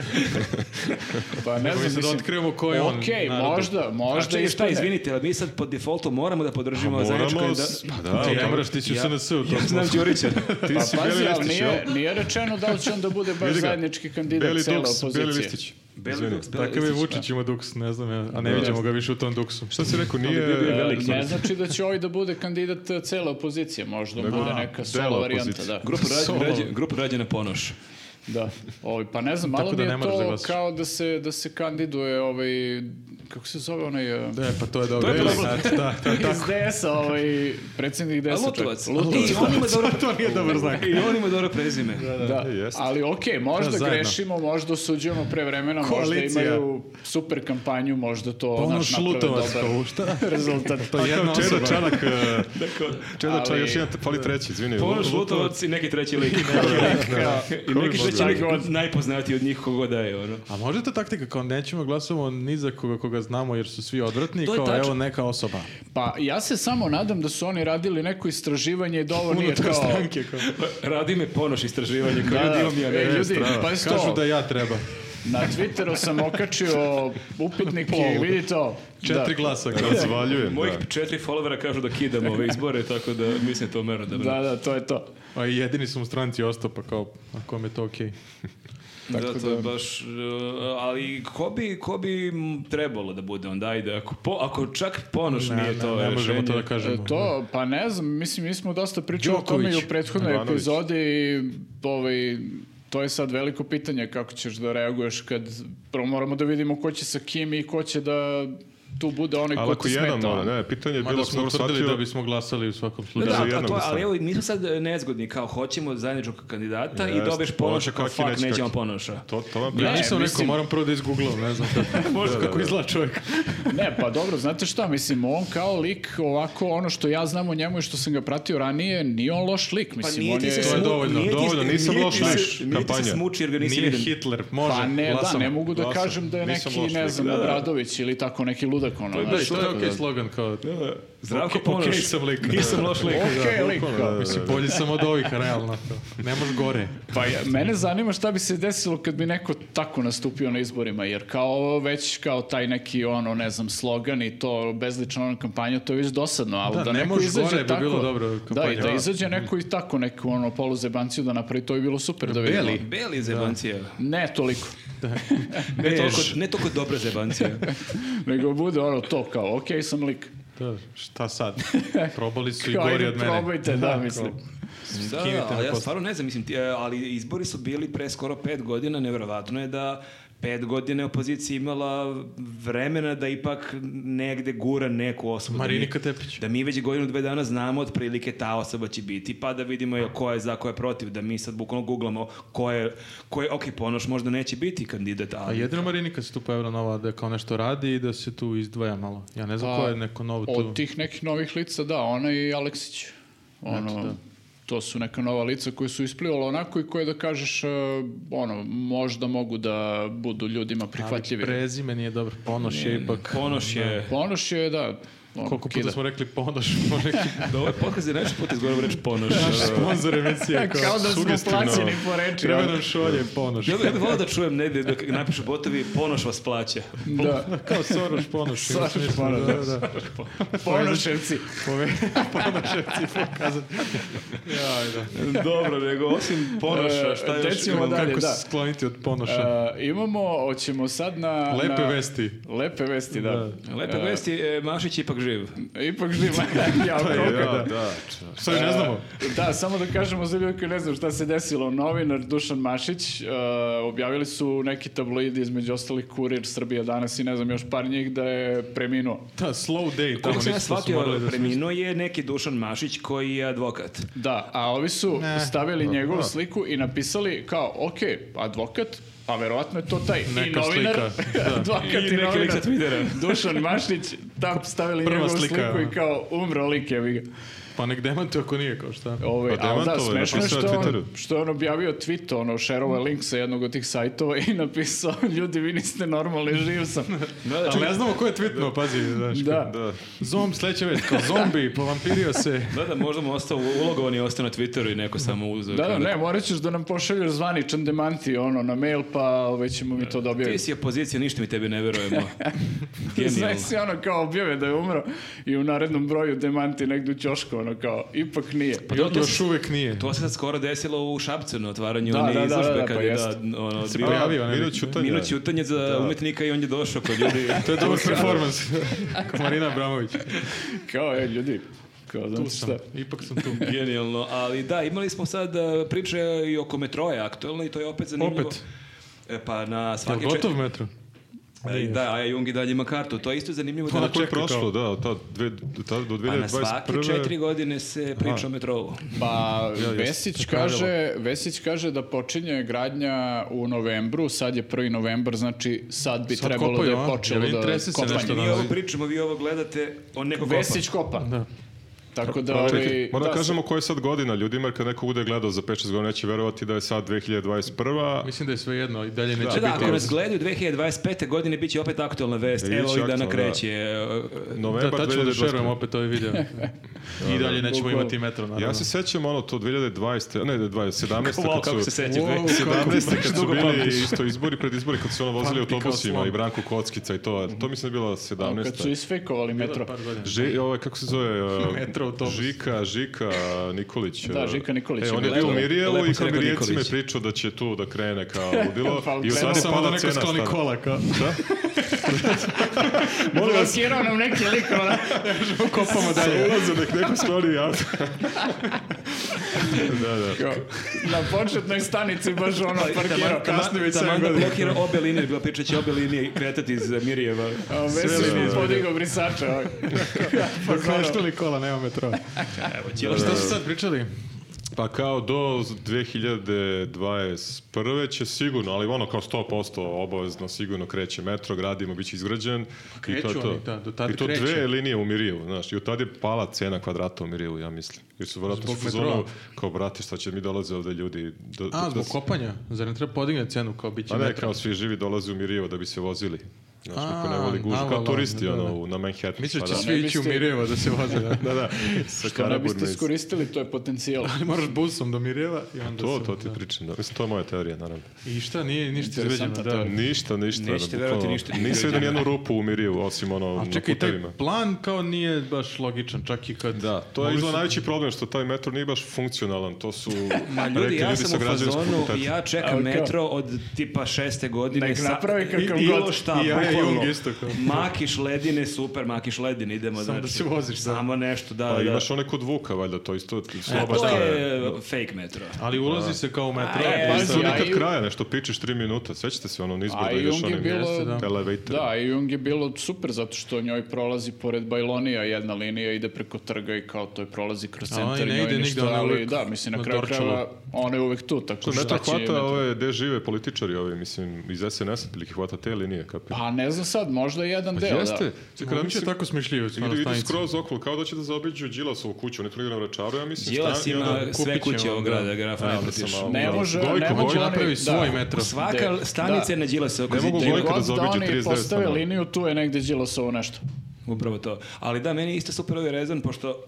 Pa ne Nego znam, mi se da mislim, otkrivamo ko je on. Okej, narod. možda, A možda čekaj, šta, ispane. izvinite, ali mi sad po defaultu moramo da podržimo zajedničko... Moramo... i s- Da... Pa da, Ti ok. ne moraš, ti si u SNS-u. Ja znam Đurića. ti Pa pazi, si Beli ali Listić, jel? nije, nije rečeno da li će on da bude baš Vidi ga. zajednički kandidat Beli cele Duks, opozicije. Beli Listić. Beli Izvini. Duks, Beli Takav je Listić. Vučić ima duks, ne znam ja, a ne vidimo ga više u tom duksu. Šta si rekao, nije... bio e, veliki. Ne znači da će ovaj da bude kandidat e, cele opozicije, možda Nego- bude A, neka dela solo varijanta, opozicije. da. Grupa, Solo. rađe, rađe, grupa Rađana Ponoš. Da. Ovaj, pa ne znam, malo Tako da mi ne je moraš da to glasaš. kao da se, da se kandiduje ovaj, kako se zove onaj... e, Da, pa to je dobro. To je problem. Znate, da, to je Iz DS-a, ovaj, predsjednik DS-a. A čovjek. Lutovac. I on ima dobro... to nije dobar znak. I on ima dobro prezime. Da, E, jeste. ali okej, možda Da, zajedno. grešimo, možda osuđujemo pre vremena, možda Koalicija. imaju super kampanju, možda Pa ono to Pa Ponoš naš naprave Lutovac, dobar kao šta? rezultat. To je jedna Kao Čeda osoba. Čanak, e, Čeda Ali- Čanak, još jedan, fali treći, izvini. Ponoš, Lu- Lutovac i neki treći lik. I Ko bi neki mogao? treći lik od najpoznatiji od njih kogo da je, ono. A možda je to taktika kao nećemo glasamo ni za koga koga znamo jer su svi odvratni, To je kao tačno. evo neka osoba. Pa ja se samo nadam da su oni radili neko istraživanje i da ovo nije Unutar kao... stranke kao. Pa, Radi me Ponoš istraživanje, kao Da, ljudi da, imam ja. e, ne. ljudi, pa je Kažu to, da ja treba. na Twitteru sam okačio upitnik i vidi to. Četiri da. glasa. kao. Razvaljujem, Mojih da. četiri followera kažu da kidam ove izbore, tako da mislim to mero da Da, da, to je to. E, A Pa i jedini sam u stranci ostao pa kao, ako mi je to okej. Da, to je baš... uh, ali ko bi, ko bi m, trebalo da bude onda? Ajde, ako, po, ako čak ponoš Ne, nije ne, to ne možemo rešenje. to da kažemo. E, To, pa ne znam, mislim, mi smo dosta pričali o tome i Đoković. u prethodnoj Ivanović. epizodi i ovaj, to je sad veliko pitanje kako ćeš da reaguješ kad prvo moramo da vidimo ko će sa kim i ko će da tu bude onaj Ali ko ako ti jedan, smeta. ono, ne, pitanje je bilo, Mada ako sam smo dobro utvrdili shvatio, da bismo glasali u svakom Da, slučaju. za da, a jednog to, sam. ali evo, mi smo sad e, nezgodni, kao hoćemo zajedničkog kandidata i Jeste. dobiješ ponoša, kao Ponoša, kaki fuck, neće nećemo kaki. ponoša. to, to vam Ja pričam. nisam rekao, Ne, mislim- moram prvo da izgooglam, ne znam kako. Možda kako izgleda čovjek. Ne, pa dobro, znate šta, mislim, on kao lik, ovako, ono što ja znam o njemu i što sam ga pratio ranije, nije on loš lik, mislim, on je... To je smu- dovoljno, nije ti- dovoljno, nisam nije ti loš, se- znaš, Nije ti se kampanja. smuči jer ga nisi Nije vidim. Hitler, može, Pa ne, da, glasamo. ne mogu da glasam. kažem da je Nisam neki, loš ne lik, znam, da, da. Obradović ili tako neki ludak, ono, Da, i znaš, to je tako okej slogan kao... Zdravko Okej, Ponoš. okej sam lik. Nisam loš lik. Okej, lik, kao. Mislim, bolji sam od ovih, realno. Ne može gore. Pa ja- mene zanima šta bi se desilo kad bi neko tako nastupio na izborima, jer kao već kao taj neki ono, ne znam, slogan i to bezlično ono kampanja, to je već dosadno, ali Da, da, ne neko možeš izađe gore bi tako, bilo dobro da, i kampanja. da Da. izađe neko i tako neku ono poluzebanciju da napravi, to bi bilo super da vidimo. Beli. Beli zebancija. Ne toliko, Ne toliko, ne toliko dobra zebancija. nego bude ono to kao, okej sam lik. Da, šta sad? Probali su i Kao, gori ajde, od mene. probajte, da, mislim. Da, Kinite ali na ja poslu. stvarno ne znam, mislim, ti, e, ali izbori su bili pre skoro pet godina, nevjerovatno je da pet godina opozicija imala vremena da ipak negde gura neku osobu. Marinika da mi, Tepić. Da mi već godinu, dve dana znamo otprilike ta osoba će biti, pa da vidimo je ko je za, ko je protiv, da mi sad bukvalno googlamo ko je, ko je, ok, ponoš možda neće biti kandidat, A ali... jedino Marinika se tu pojavila nova da kao nešto radi i da se tu izdvaja malo. Ja ne znam ko je neko novo tu. Pa, Od tih nekih novih lica, da, ona i Aleksić. Ono, To su neka nova lica koja su isplivala onako i koje da kažeš, e, ono, možda mogu da budu ljudima prihvatljivi. Ali prezime nije dobro. Ponoš je ipak... Ponoš je... Ponoš je, da, ono, Koliko puta kida. smo rekli ponoš po neki Da, ovaj podcast je nešto puta izgovorio reč ponoš. sponsor emisije. Kao da smo sugestivno. plaćeni po reči, Treba ono. nam šolje ponoš. Ja bih ja bi volao da čujem negdje da napišu botovi ponoš vas plaća. Da, Kao Soroš ponoš. ima Soroš smisla, Ponoš. Da, da. Ponoševci. Pove... Ponoševci pokazati. Jaj, da. Dobro, nego osim ponoša, šta E, još? deci- Idemo dalje, Kako da. se skloniti od ponoša. E, imamo, hoćemo sad na... Lepe na- vesti. Lepe vesti, da. Lepe vesti, e, Mašić je ipak živ. Ipak živa. ja, koliko Da, da. da, da. Šta E, mi ne znamo? Da, samo da kažemo za ljudi koji ne znam šta se desilo. Novinar Dušan Mašić e, objavili su neki tabloidi, između ostalih Kurir Srbija danas i ne znam još par njih da je preminuo. Da, slow day. Tamo Kako sam ja nisu, to su shvatio, morali da smisle. preminuo je neki Dušan Mašić koji je advokat. Da, a ovi su Ne. stavili njegovu sliku i napisali kao, ok, advokat, a verovatno je to taj i Neka novinar, slika, da. advokat i, neki lik novinar, sa Twittera. Dušan Mašić, tam stavili Prva njegovu slika, sliku ono. i kao, umro lik je ga. Pa nek demantuje ako nije kao šta. Ovaj, Pa a da, demantovao je, smešno je napisao što je na on, Twitteru. što je on objavio tweet, ono, šerovao je link sa jednog od tih sajtova i napisao, ljudi, vi niste normalni, živ sam. Ali ne znamo ko je tweetnuo, pazi, znaš. Da. Da. Zomb, sledeća vest, kao zombi, povampirio se. Da, da, možda mu ostao ulogovan i ostao na Twitteru i neko samo uzeo. Da, da, kao ne, morat ćeš da nam pošalješ zvaničan demanti, ono, na mail, pa već ćemo mi to da objavimo. Ti si opozicija, ništa mi tebi ne verujemo. Znaš Genijalno. si ono kao objave da je umro i u narednom broju demanti negdje u ćošku, ono kao, ipak nije. Pa to- to još se- uvek nije. To se sad skoro desilo u Šapcu na otvaranju Da, one da, da, izložbe da, da, kad pa je da, jeste. ono, Se Pa bio pojavio, ne? Minut ćutanja. minut ćutanja za umetnika i on je došao kod ljudi. To je dobar performans. Kao Marina Abramović. Kao, e, ljudi, kao, Tu znate sam, šta. ipak sam tu. Genijalno, ali da, imali smo sad e, priče i oko metroja aktualno i to je opet zanimljivo. Opet? E, pa na Jel svaki gotov metro? E, da, a Jung i dalje ima kartu. To je isto zanimljivo. Ono da- Tako je čeka kao- Ono prošlo, da, od tad dve, tad do 2021. Pa na svake četiri godine se priča o metrovu. Pa, jesam. Vesić To je pravilo. kaže, Vesić kaže da počinje gradnja u novembru, sad je 1. novembar, znači sad bi Sad trebalo kopaju, da je a? počelo Jel da interesi se kopanje. nešto Mi da- ovo pričamo, vi ovo gledate, on neko kopa. Vesić kopa. Da. Tako da... Pa, Čekaj, ovaj, moram da, da kažemo koja je sad godina ljudima, jer kad neko bude gledao za 5-6 godina, neće verovati da je sad 2021. Mislim da je sve jedno i dalje neće Da, da, ako biti. nas gledaju 2025. godine, bit će opet aktualna vest. Biće Evo ovih dana aktualna, kreće. e, Da, Novembar tad ćemo da šerujemo 2021. opet ove video. I dalje nećemo Bukvalno. imati metro, naravno. Ja se sećam ono to 2020. Ne, 2017. Wow, kad kako su, se sećaš, dve- Wow, kako 17. kad su dugo bili pamtiš. isto izbori pred izbori, kad su ono vozili Pamti kao autobusima slon. i Branko Kockica i to, to mislim da je bila a, Kad su 17. isfejkovali metro. Par godina. Ži, ovaj, kako se zove? uh, Metro autobus. Žika, Žika Nikolić. Da, uh, Žika Nikolić E, je on bio je bio u lepo- lepo Mirjevu si i kao rekao Mirjevcima je Nikolić. pričao da će tu da krene kao ludilo. Pa, I u krenuo. sad je Samo da pala neko cena skloni stana. kola, kao. Molim vas. nam neki lik, ono. Kopamo dalje. Ulaze, nek neko skloni auto. da, da. Kao, na početnoj stanici baš ono parkirao kasno već Taman sam da godina. blokira obe linije, jer bila priča će obe linije kretati iz Mirjeva. A Veselić mi je podigao brisača. ovaj. Pa ono, Preštili kola, nema metroa. Evo, Jel, Ćila, šta ste sad pričali? Pa kao do 2021. će sigurno, ali ono kao 100% obavezno sigurno kreće metro, gradimo, bit će izgrađen. Pa kreću oni, da, do tad I to kreće. dve linije u Mirijevu, znaš, i od tad je pala cena kvadrata u Mirijevu, ja mislim. Jer su vratno Zbog u fazonu, metroa. kao brate, šta će mi dolaze ovde ljudi. Da, A, da- zbog da- kopanja. Zar ne treba podigne cenu kao bit će A Pa ne, metro? kao svi živi dolaze u Mirijevo da bi se vozili. Znaš, niko ne A, voli gužu, avala, kao turisti da, da. ono, u- na Manhattanu. Mislim da pa će da. svi ići u biste- Mirjevo da se voze. Da. Da, da, Kao sa ne Karaburme biste iz- iskoristili, to je potencijal. Ali moraš busom do Mirjeva i onda To, se- to ti pričam, da. Mislim, to je moja teorija, naravno. I šta, nije ništa izgrađeno? Interesantna Da. teorija. Ništa, ništa. ono, Nećete bukvalno. verovati, ništa nije Nisam vidio nijednu rupu u Mirijevu, osim ono A na čekaj, taj putevima. plan kao nije baš logičan, čak i kad... Da, to je Mogli izgleda su- najveći problem, što taj metro nije baš funkcionalan. To su... Ma rekli ljudi, ja sam sa u građevinskog fazonu, fakulteta. ja čekam Ali kao- metro od tipa šeste godine. Nek sa- napravi kakav i- god. Bilo šta, I ja, ja, bukvalno. Jung isto kao. Makiš ledine, super, makiš ledine, idemo. Samo da znači, se voziš, da. Samo nešto, da, Pa da. imaš one kod Vuka, valjda, to isto A sloba to stara. je fake metro. Ali ulazi se kao u metro. A, e, pa- Nisu Pazi, a nikad i- kraja, nešto pičeš tri minuta. Sećate se ono nizbrdo A i ideš Jung je onim bilo- Jeste, da. elevator. Da, i Jung je bilo super zato što njoj prolazi pored Bajlonija jedna linija, ide preko trga i kao to je prolazi kroz A ona i centar, ne njoj ide nigde, ništa, ona je ali uvek da, mislim na na kraju Dorčulu. krajeva ona je uvek tu, tako Što metro šta će i metro. hvata ove, gde žive političari ovi, mislim, iz SNS-a, ili hvata te linije, kapira. Pa ne znam sad, možda jedan deo, Jeste. Čekaj, Kako će mislim- tako smišljivo? stvarno, Idu, idu stanice? skroz okolo, kao da će da zaobiđu Đilasovu kuću, oni tu igra na vračaru, ja mislim. ono, Đilas stan- i ima onda- sve kupit kuće ćemo, ovog da. grada, grafa, ne onda pretiš. sam malo- Ne može, Gojko, ne Gojko Hoće može da napravi oni- svoj da. metro. Svaka Da. stanica je na Đilasa oko Ne mogu Gde Gojko da god da, zaobiđe oni 39 postave stanova. liniju, tu je negde Đilasovo nešto. Upravo to. Ali da, meni je isto super ovaj rezon, pošto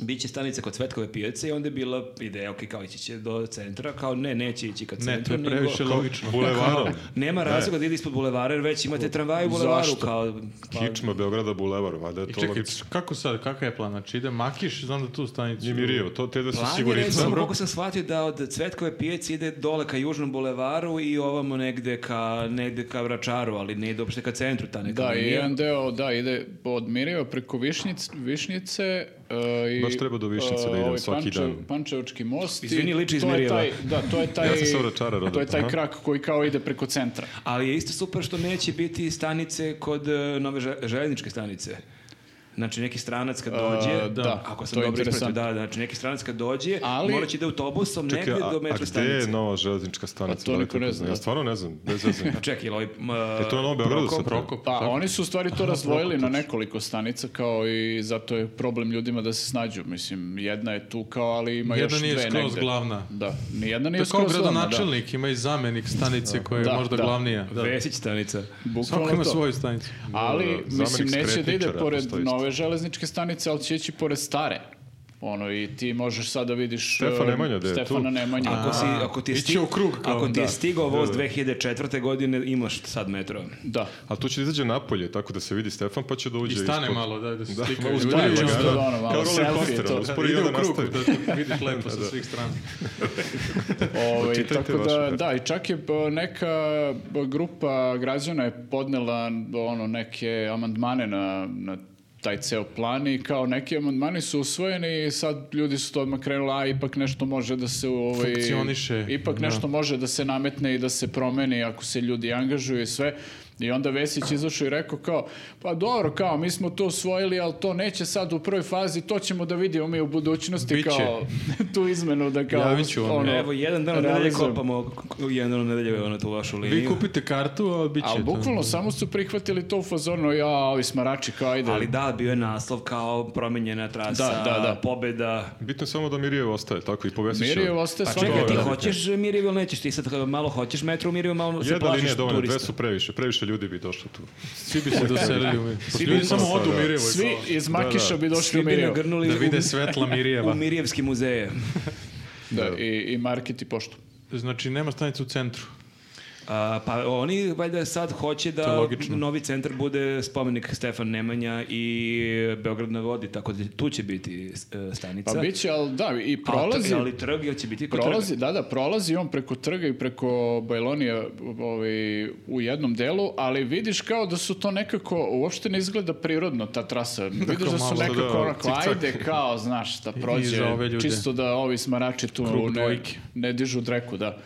bit će stanica kod Cvetkove pijace i onda je bila ideja, ok, kao ići će do centra, kao ne, neće ići ka Ne, to centru. je previše nego, logično. Bulevarom. Nema razloga da ide ispod bulevara, jer već imate tramvaje u bulevaru. Zašto? Kao, pa, Kičma, Beograda, Bulevar, valjda je I to E, čekaj, logično. kako sad, kakav je plan? Znači ide Makiš, znam da tu stanicu... Nije Mirijevo, to te da su Plan je, sigurni. recimo, Dobro. koliko sam shvatio da od Cvetkove pijace ide dole ka Južnom bulevaru i ovamo negde ka, negde ka Vračaru, ali ne ide uopšte ka centru ta neka Da, i linija. jedan deo, da, ide od Mirjeva preko Višnjic, Višnjice e, i... Baš treba do Višnjice e, da idem ovaj svaki Pančev- dan. Pančevački most. i Izvini, liči iz to je Mirjeva. taj- Da, to je taj... Ja sam sa Vračara rodan, To je taj aha. krak koji kao ide preko centra. Ali je isto super što neće biti stanice kod e, nove že- željezničke stanice. Znači neki stranac kad dođe, E, da, ako sam to je dobro ispratio, interesantno. da, znači neki stranac kad dođe, Ali- morat će ide autobusom Čekaj, negde a, do a metro gde je stanice. nova železnička stanica? A to da li niko ne to zna, znaš? da. Ja stvarno ne znam, bez veze. Pa čekaj, jel ovaj... m, E, to je na Novom Beogradu sad. Prokop. Pa tako? oni su u stvari to razdvojili na nekoliko stanica kao i zato je problem ljudima da se snađu. Mislim, jedna je tu kao, ali ima Jedna još dve Pa nije negde. skroz glavna. Da, nijedna To nije je kao skroz glavna, da. gradonačelnik, ima i zamenik stanice koja je Da, možda da. glavnija. Da. Vesić stanica. Bukvalno Svako ima to. svoju stanicu. Ali, Zamenik mislim, neće da ide skretničara pored postoji isto. nove železničke stanice, ali će ići pored stare. Ono, i ti možeš sad da vidiš... Stefan e, Nemanja, da je tu. Stefana Nemanja. Ako, si, ako ti je, ići stig- u krug kao, ako ti je da. stigao voz 2004. godine, imaš sad metro. Da. A tu će da izađe napolje, tako da se vidi Stefan, pa će da uđe I stane ispod. malo, da, da se Da, slikaju ma, ljudi. stane, i čisto onda- da ono malo Kao roller selfie je coaster, to. ono, uspori i ide onda u krug, nastavi. da vidiš lepo sa svih strana. Ovaj, Čitajte tako vaše da, vesti. da, i čak je b- neka b- grupa građana je podnela ono, neke amandmane na, na taj ceo plan i kao neki amandmani su usvojeni i sad ljudi su to odmah krenuli, a ipak nešto može da se ovaj, Funkcioniše, ipak da. nešto može da se nametne i da se promeni ako se ljudi angažuju i sve. I onda Vesić izašao i rekao kao, pa dobro, kao, mi smo to usvojili, ali to neće sad u prvoj fazi, to ćemo da vidimo mi u budućnosti, Biće. kao, tu izmenu da kao... Javit ću vam, ono, ja. Evo, jedan dan od nedelje realizujem. kopamo, k- jedan dan od nedelje ono tu vašu liniju. Vi kupite kartu, a bit će Ali to. ono. bukvalno samo su prihvatili to u fazonu, ja, ovi smarači, kao ajde. Ali da, bio je naslov kao promenjena trasa, Da, da, da. pobeda. Bitno je samo da Mirijev ostaje, tako i povesiš. Mirjev ostaje Pa svakako. čekaj, ti da. hoćeš Mirijevo ili nećeš? Ti sad malo hoćeš metro u Mirijevo, malo Pa se Jedna linija plašiš je dovoljna, dve turista. su previše, previše ljudi bi došlo tu. Svi bi se doselili u Mirjevo. Ljudi bi- samo odu u Da. Mirjevo. i Svi kao- iz Makiša Da, da. bi došli Svi u bi Mirjev. nagrnuli Da u- vide svetla u Mirjeva. Mirijevski muzeje. Da, i, i market i poštu. Znači, nema stanice u centru. A, pa oni valjda sad hoće To je da logično. novi centar bude spomenik Stefan Nemanja i Beograd na vodi, tako da tu će biti e, stanica. Pa biće, ali da, i A to- prolazi. ali trg jel će biti kod Prolazi, trga? da, da, prolazi on preko trga i preko Bajlonija ovaj, u jednom delu, ali vidiš kao da su to nekako, uopšte ne izgleda prirodno ta trasa. Vidiš da su malo, nekako da, onako, cik-cak. ajde kao, znaš, da prođe, za ove ljude. čisto da ovi smarači tu Krug ne, dvojke. ne dižu dreku, da.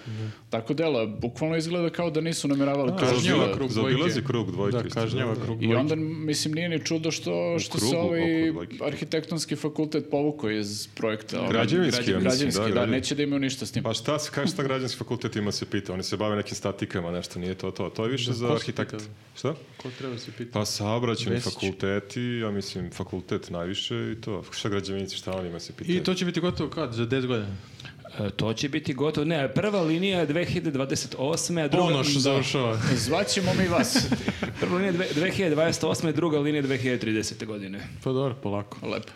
Tako dela, bukvalno izgleda kao da nisu nameravali to. kažnjava da- krug dvojke. Zaobilazi krug dvojke, Da, isto, kažnjava da. krug I dvojke. onda, mislim, nije ni čudo što, što se krugu ovaj oko dvojke. arhitektonski fakultet povukao iz projekta. ovaj, Građevinski, ja mislim, građevinski, da, da, građevinski. neće da imaju ništa s tim. Pa šta, se- kaj šta građanski fakultet ima se pita? Oni se bave nekim statikama, nešto, nije to to. To je više za ko se arhitekt. pita? Šta? Ko treba se pitati? Pa saobraćajni Vesić. fakulteti, ja mislim fakultet najviše i to. Šta građevinici, šta oni ima se pitaju? I to će biti gotovo kad? Za 10 godina? E, to će biti gotovo. Ne, prva linija je 2028. A druga, Ponoš da. završava. Zvaćemo mi vas. Prva linija je dve- 2028. druga linija je 2030. godine. Pa dobro, polako. Lepo.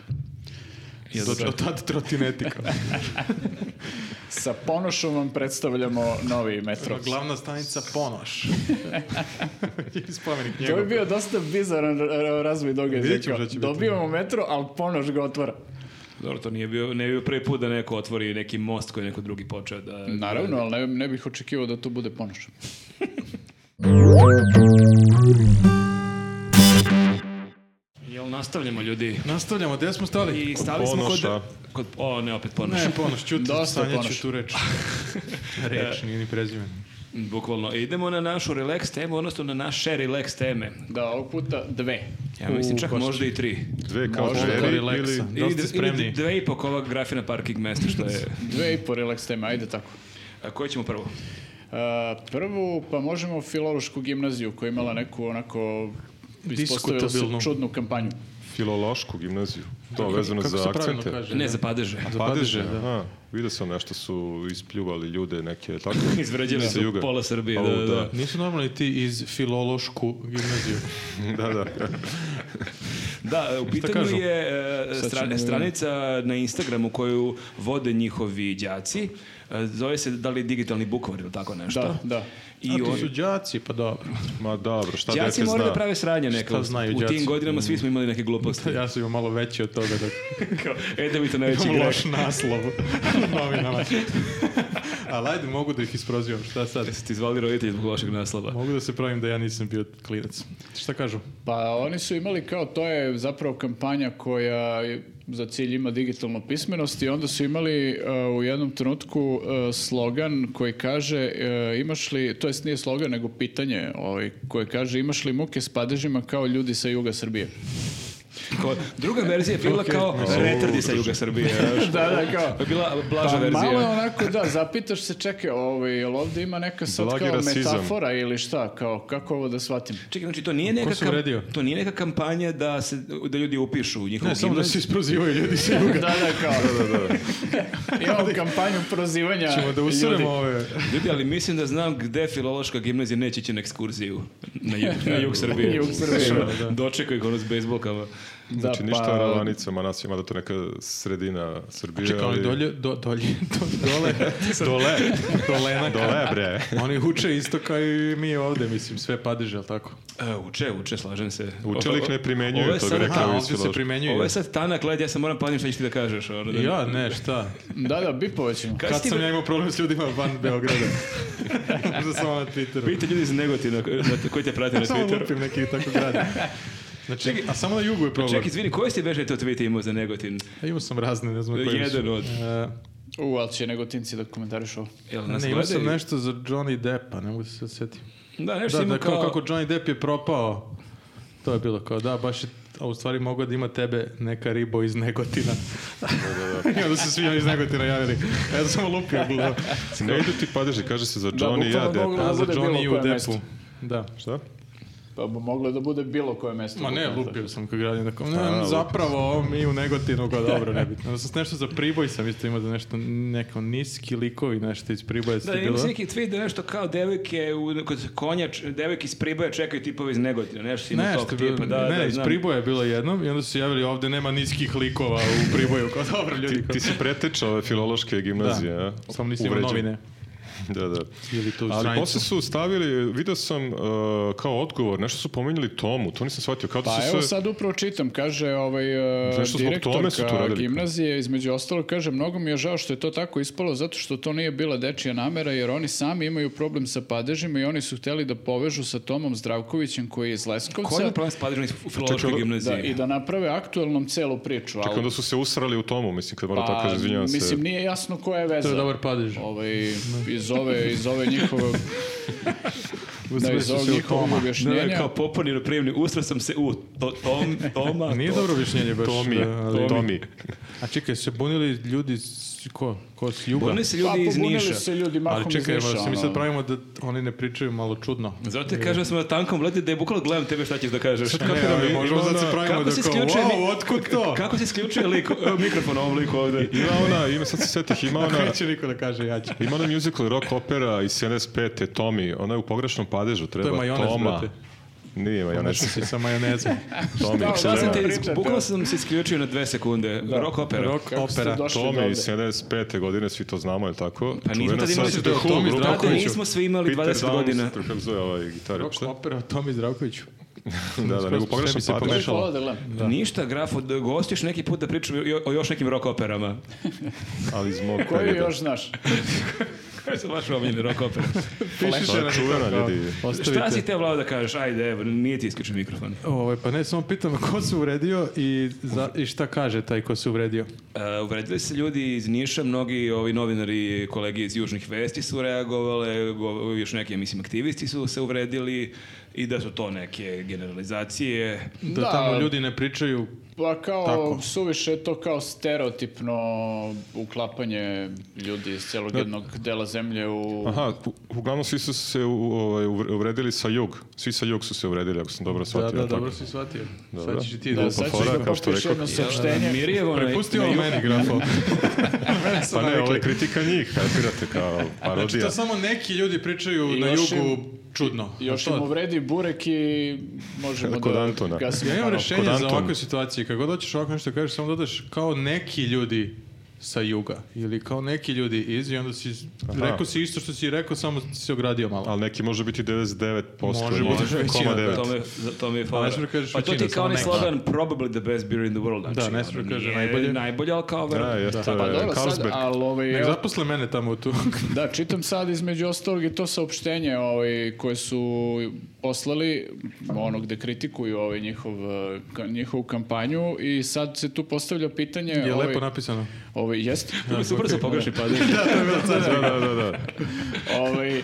Do, do tad trotinetika. Sa ponošom vam predstavljamo novi metro. Glavna stanica Ponoš. I spomenik To njegov. bi bio dosta bizaran ra- razvoj događaja. Vidjet ćemo šta će biti. Dobijamo metro, ali ponoš ga otvara. Dobro, to nije bio, ne bi bio prvi put da neko otvori neki most koji je neko drugi počeo da... Naravno, ali ne, ne bih očekivao da to bude ponoš. Jel nastavljamo ljudi? Nastavljamo, gde smo stali? I stali smo Ponoša. kod... kod o, ne, opet ponoš. Ne, Ponoš, ćuti, Dosta Ponoš. sanjaću tu reč. reč, nije ni prezime. Mm, Bukvalno. Idemo na našu relax temu, odnosno na naše relax teme. Da, ovog puta dve. Ja mislim U, čak baš možda i tri. Dve kao Možda to žeri relaksa. ili... Da li Ili- ste spremni? Ili dve i po kova grafina parking mesta, što je... Dve i po relax tema, ajde tako. A koje ćemo prvo? E, prvu, pa možemo filološku gimnaziju koja je imala neku onako ispostavila se Diskutabilnu. čudnu kampanju. Filološku gimnaziju. To vezano Kako za se pravilno akcente. kaže? Ne, za padeže. Za Padeže, padeže, da. aha. Vidio sam nešto su ispljuvali ljude neke, tako? Izvređali Sa su juga. pola Srbije, Au, da, da, da. Nisu normalni ti iz filološku gimnaziju. da, da. Da, u pitanju kažu? je e, stra- ćemo- stranica na Instagramu koju vode njihovi đaci. E, Zove se da li digitalni bukvar ili tako nešto. Da, da. I A to on- su đaci, pa dobro. Ma dobro, šta đaci dete moraju zna? da prave sranje neka. Šta U- znaju U tim đaci? godinama svi smo imali neke gluposti. Ja sam imao malo veći od toga da Kao, e, da bi to najveći imam greš. loš naslov u novinama. Ali ajde, mogu da ih isprozivam, šta sad? Ti zvali roditelji zbog lošeg naslova. Mogu da se pravim da ja nisam bio klinac. Šta kažu? Pa oni su imali kao, to je zapravo kampanja koja je- za cilj ima digitalnu pismenost i onda su imali uh, u jednom trenutku uh, slogan koji kaže uh, imaš li, to jest nije slogan nego pitanje ovaj, koje kaže imaš li muke s padežima kao ljudi sa juga Srbije. Kao, druga verzija je bila kao retardi sa juga Srbije. znaš. da, da, kao. To je bila blaža Pa verzija. malo je onako, da, zapitaš se, čekaj, ovaj, jel ovdje ima neka sad Blagi kao rasizam. metafora ili šta, kao, kako ovo da shvatim? Čekaj, znači to nije neka se kam- uredio? to nije neka kampanja da se da ljudi upišu u njihovu Ne, samo da gimnaziju. se isprozivaju ljudi sa da, da, kao. Imamo kampanju prozivanja Ćemo da ljudi. usuremo ove... Ljudi, ali mislim da znam gde filološka gimnazija neće ići na ekskurziju na jug, na jug Srbije. Jug Srbije, Dočekaju ga ono s bejsbolkama. Znači Da, ništa pa- o ravanicama, nas ima da to neka sredina Srbije, Čekaj, oni ali... Znači, dolje, do, dolje, do, dole, dole, dolena, Dole, bre. Oni uče isto kao i mi ovde, mislim, sve padeže, ali tako? E, uče, uče, slažem se. Uče li ih ne primenjuju, Ovo je to bi sad- rekao Aha, Kao i ovdje se filološki. primenjuju. Ovo je sad tanak led, ja sam moram padim šta ćeš ti da kažeš. Ono, da- Ja, ne, šta? Da, da, bipovećemo. Kaj si Kad ti sam be- ja imao problem s ljudima van Beograda. Možda samo na Twitteru. Pitaj ljudi iz Negotina na- koji te prate na Samo Twitteru. lupim neki tako grad. Znači, a samo na jugu je problem. Čekaj, izvini, koji ste beže to tweet imao za Negotin? Ja imao sam razne, ne znam koji E, Jedan od. U, ali će negotinci da komentariš ovo. Jel nas Ne, imao sam gledaju? nešto za Johnny Deppa, ne mogu se sad sjetiti. Da, nešto Da, ima da, kao, kao... kako Johnny Depp je propao. To je bilo kao, da, baš je, a u stvari mogao da ima tebe neka ribo iz Negotina. I onda su svi oni iz Negotina javili. Ja sam samo lupio glavu. Ne idu ti padeži, kaže se za Johnny i ja, bukvalno dete. mogu- A za Bude bilo Johnny i u koje Deppu. mesto. Da. Šta? Pa bi moglo da bude bilo koje mesto. Ma ne, lupio sam kao gradim. Dakle, ne, A, zapravo ovo mi u Negotinu, kao dobro, nebitno. Onda sam nešto za Priboj sam isto imao da nešto, neko niski likovi nešto iz Priboja su Da, ti imam bilo. se neki tweet da nešto kao devojke u, kod konja, č- devojke iz Priboja čekaju tipove iz Negotina, nešto ima Ne, tog što je bilo- tipa, da, ne, da, iz znam. Priboja je bilo jednom i onda su se javili ovde nema niskih likova u Priboju. Kao dobro, ljudi, Ti, ti si preteča ove filološke gimnazije, a? Samo nisi imao Uvređen. novine. Da, da. Ili tu Ali stranicu. posle su stavili, video sam uh, kao odgovor, nešto su pomenjali Tomu, to nisam shvatio. Kao da Pa su evo se- sad upravo čitam, kaže ovaj, e, Zašto zbog tome su to direktorka radili? gimnazije, između ostalo kaže, mnogo mi je žao što je to tako ispalo, zato što to nije bila dečija namera, jer oni sami imaju problem sa padežima i oni su hteli da povežu sa Tomom Zdravkovićem koji je iz Koji je Leskovca problem s padežom u filološkoj Čekaj, da, gimnaziji? i da naprave aktuelnom celu priču. Čekaj, ali- onda su se usrali u Tomu, mislim, kad mora Pa, tako kaže, izvinjavam se. Mislim, nije jasno koja je veza. To je dobar padež. Ovaj, iz ove, iz ove njihovog, da, Uzeli iz su ovog se u njihovog Toma. Ne, objašnjenja. ne, kao popolni na prijemni, ustra sam se u to, tom, toma. Nije dobro objašnjenje baš. Tomi, da, ali- Tomi. A čekaj, se bunili ljudi s, ko, ko s juga? Oni se Pa, ljudi iz pobunili Niša. se ljudi mahom Ali iz čekaj, Niša, evo, se mi sad ono. pravimo da oni ne pričaju malo čudno. Zato te kažem da smo na tankom ledu da je bukvalo gledam tebe šta ćeš da kažeš. Ne, ali možemo sad se pravimo Kako da se kao, isključuje mi- wow, otkud to? Kako se isključuje lik, mikrofon ovom liku ovde? Ima ona, ima sad se setih, ima ona... Ono, Neće niko da kaže, ja ću. Pa Ima ona musical rock opera iz 75. Tomi, ona je u pogrešnom padežu, treba To je majonez, Toma. brate. Nije majonez, Nešto si sa majonezom. Tomi. Šta, Šta sam Da. te, Pričate. bukvalo sam se isključio na dve sekunde. Rock opera. Rock Kako ste opera. došli do Tomi ovde? iz 75. godine, svi to znamo, je li tako? Pa nismo Čuvena tad imali sad- to, The Who, Tomi grupa Brate, Zdravkoviću. nismo svi imali Peter 20 Downs, godina. kako se zove ovaj gitarist, Rock šta? opera o Tomi Zdravkoviću. Da, da, nego Sve mi pogrešan se Došli padež. pomešalo. ovde, le. Ništa, grafo, gostiš neki put da pričamo jo- o još nekim rock operama. Ali iz mog Koju perioda. još znaš? Koje su vaše omiljene rock opere? Piše To je čuvena, ljudi. Šta si Ostavite. te vlada da kažeš? Ajde, evo, nije ti isključen mikrofon. Ovaj, pa ne, samo pitam ko se uvredio i, za, i šta kaže taj ko se uvredio. E, uvredili se ljudi iz Niša, mnogi ovi novinari i kolege iz Južnih vesti su reagovale, go- još neki, ja mislim, aktivisti su se uvredili i da su to neke generalizacije. Da, Da. tamo ljudi ne pričaju Pa kao, Tako. suviše je to kao stereotipno uklapanje ljudi iz celog jednog dela zemlje u... Aha, u- uglavnom svi su se u- ovaj, uvre- uvredili sa jug. Svi sa jug su se uvredili, ako sam dobro shvatio. Da, da, tako? dobro si shvatio. Dobro. pa Sad ćeš i ti Da, da, sad ćeš fora, da kao što popiš rekao. jedno saopštenje. E, Mirjevo na, Pusti na ovo ju- meni, grafo. Pa ne, ovo je kritika njih, kapirate, kao Znači, parodija. to samo neki ljudi pričaju I na još jugu im- čudno. Još A to- im uvredi burek i možemo Kod da Antona. gasimo Ja imam paru. rešenje kod za Antona. ovakve situacije. Kad god hoćeš ovako nešto da kažeš, samo dodaš kao neki ljudi sa juga ili kao neki ljudi iz i onda si Aha. rekao si isto što si rekao, samo si se ogradio malo. Ali neki može biti 99%. Može njih, biti većina, koma devet. da. To me, za- to me je fora. ne smiješ da kažeš Pa to ti većina, je kao samo onaj neki. slogan probably the best beer in the world. Znači, ne smiješ da ono, kaže nije najbolje. Najbolje, ali kao Da, verujem. jeste, Pa dobro, sad, Carlsberg. ali ovaj, Nek evo, zaposle mene tamo u tu. da, čitam sad između ostalog i to saopštenje ovaj, koje su poslali, ono gde kritikuju ovaj, njihov, eh, ka- njihovu kampanju i sad se tu postavlja pitanje... je ovaj, lepo napisano. ovaj, jeste? Super su pogrešni padež. Da, da, da, da. ovaj, e,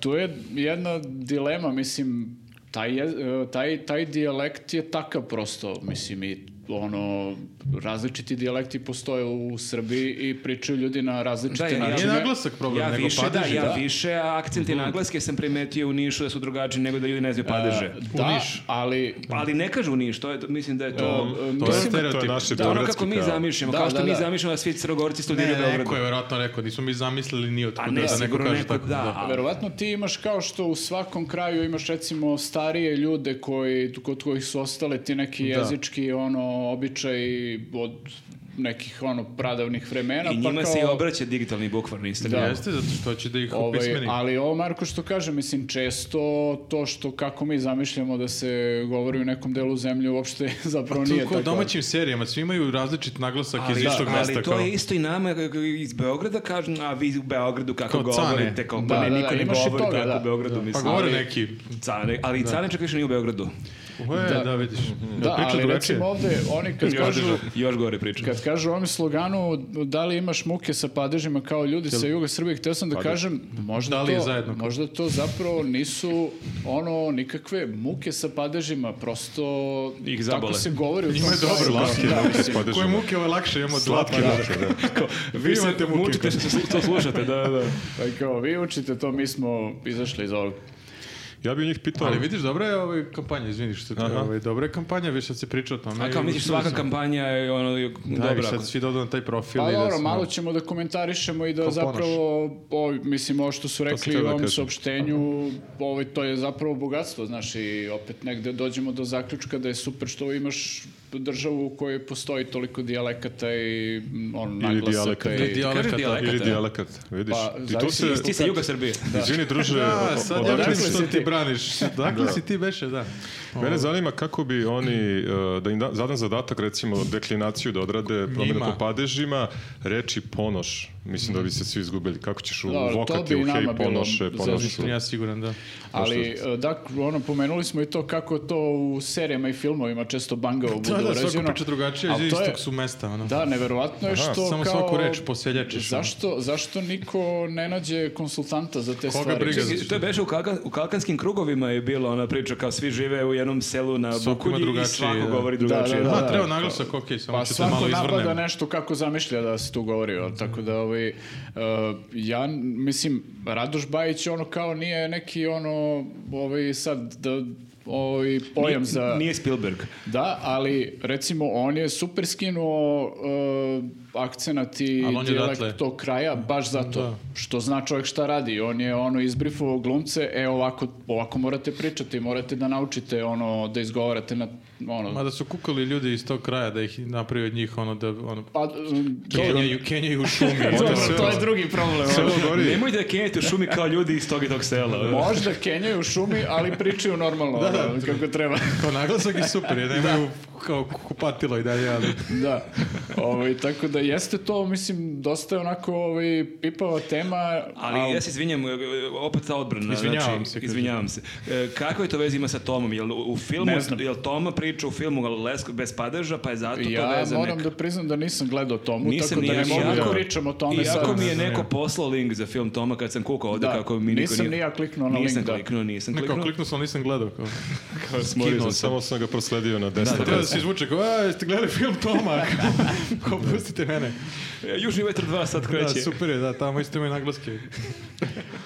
tu je jedna dilema, mislim, taj, je- e, taj, taj dijalekt je takav prosto, mislim, i ono, različiti dijalekti postoje u Srbiji i pričaju ljudi na različite Da, ja- ja- Nije načine. naglasak problem, Ja nego više, padeži. da, ja da. više, a akcenti i naglaske sam primetio u Nišu da su drugačiji nego da ljudi ne E, znaju padeže. U Da, Niš. ali Pa, ali ne kažu niš, to je, to- mislim da je to... e, Um, To je mislim- To je stereotip. naše Da, ono kako beogradski mi kao. zamišljamo, Da, kao što da, mi da. zamišljamo da svi Crnogorci Ne, studiraju u Beogradu. neko je vjerojatno rekao, nismo mi zamislili ni od A kuda da ne, neko sigurno kaže neko, tako. da. a- Verovatno ti imaš kao što u svakom kraju imaš recimo starije ljude koji, kod kojih su ostale ti neki jezički ono, običaj od nekih ono pradavnih vremena. I pa njima kao, se i obraća digitalni bukvar na Instagramu. Da. Jeste, zato što će da ih Ovaj, opismeni. ali ovo Marko što kaže, mislim često to što kako mi zamišljamo da se govori u nekom delu zemlje uopšte zapravo To nije kao tako. u domaćim serijama, svi imaju različit naglasak iz da, istog mesta. ali to kao. je isto i nama k- k- iz Beograda kažu, a vi u Beogradu kako Kao cane. govorite, kao, Da, pa ne, da, da, niko ne imaš i govori toga, tako da. u Beogradu, Pa mislim. govore ali- neki. Cane, ali i cane čak više nije u Beogradu. E, da. vidiš. Da, ali recimo ovde, oni kad Pa kažu, Još gore priča. Kad kažu u ovom sloganu da li imaš muke sa padežima kao ljudi sa juga Srbije, htio sam da kažem, možda, Da li je to, zajedno? možda to zapravo nisu ono nikakve muke sa padežima, prosto Ih tako zabole. se govori. u tom Ima je kraju. dobro Slatke Da, ruke s mislim, Koje padežima. muke, ovo je lakše, imamo dva Slatke para. ruke, da. vi se imate muke mučite kad- što slu- to slušate, da, da. pa kao, vi učite to, mi smo izašli iz ovog. Ja bih njih pitao... Pa, Ali vidiš, dobra je ovaj kampanja, izvini što te, Aha. ovaj, dobra je kampanja, više sad se priča o tome. A kao i misliš uspeli svaka smo. kampanja je ono je Da, i dobra. ako- sad svi dodu na taj profil. Pa i da dobro, se- malo ćemo da komentarišemo i da Kao ponoš. zapravo, o, mislim, ovo što su rekli htio u da ovom kažem. saopštenju, ovaj, ovo, to je zapravo bogatstvo, znaš, i opet negde dođemo do zaključka da je super što imaš državu u kojoj postoji toliko dijalekata i mm, ono, Ili naglasaka. dijalekata. i- Ili Kaže dijalekata. Ili dijalekata. dijalekat, vidiš. Pa, I tu zavisi se... Ti si juga Srbije. Izvini, druže, Da, o- sad o- ja odakle vidim si- što si ti ti? braniš. Dakle si ti beše, da. Mene zanima kako bi oni, e, da im da- zadam zadatak, recimo, deklinaciju da odrade promjenu Njima. po padežima, reči ponoš. Mislim da bi se svi izgubili. Kako ćeš u Dobro, to vokati, bi u hej nama bilo ponoše, za- ponošu. Ja siguran, da. Ali, e, dakle, ono, pomenuli smo i to kako to u serijama i filmovima često bangavo bude Da, da, urađeno. svako priča drugačije, ono, Ali iz to je- istog su mesta, ono. Da, neverovatno je Aha, što samo kao... svaku reč poseljačiš, ono. Zašto, zašto niko ne nađe konsultanta za te Koga stvari? briga za- Čekaj, To je beše u, Kalka- u kalkanskim krugovima je bilo ona priča kao svi žive u jednom selu na Svako ima Bukulji i drugačiji, svako da. govori da, drugačije. da. Da, treba naglasak, okej, samo Pa ću te malo svako napada izvrnem. Mhm. nešto kako zamišlja da se tu govori, ali tako da ovaj, e, ja, mislim, Radoš Bajić ono kao nije neki ono, ovaj sad, da, ovaj pojam Nije- za... Nije Spielberg. Da, ali recimo on je super skinuo e, akcenat i Ali on je dijalekt odatle. tog kraja baš zato Da. što zna čovjek šta radi. On je ono izbrifovao glumce, e ovako, ovako morate pričati, morate da naučite ono da izgovarate na ono... Ma da su kukali ljudi iz tog kraja, da ih napravi od njih, ono, da, ono, pa, um, Kenjaju, kenjaju u šumi. dobro, ono, to, to je drugi problem. ono. Nemoj da kenjete u šumi kao ljudi iz tog i tog sela. Možda kenjaju u šumi, ali pričaju normalno, Da, da. ono, kako treba. Kao naglasak je super, jer nemaju kao kupatilo i dalje, ali... da. Ovaj, tako da jeste to, mislim, dosta je onako ovaj, pipava tema. Ali ja se izvinjam, e, opet ta odbrana. Izvinjavam znači, se, kaže. Izvinjavam se. E, Kako je to veze ima sa Tomom? Jel u u filmu, Ne znam. jel Toma priča u filmu Lesko bez padeža, pa je zato to Ja veze moram neka? da priznam da nisam gledao tomu, Nisam tako da ni ne ja, mogu iako- da pričam o tome sad. Iako mi je ne. neko poslao link za film Toma kad sam kukao ovde Da, kako mi niko nisam nije- ni ja kliknuo na Nisam link, da. kliknuo, nisam Ne, kao kliknuo. kliknuo sam, ali nisam gledao. Kao. Morio sam, Skinuo sam. samo sam ga prosledio na desno. Treba da se izvuče, kao, a, jeste gledali film Toma? Kao, kao, pustite mene. E, Južni vetar 2 sad Da, kreće. super je, da, tamo isto imaju naglaske.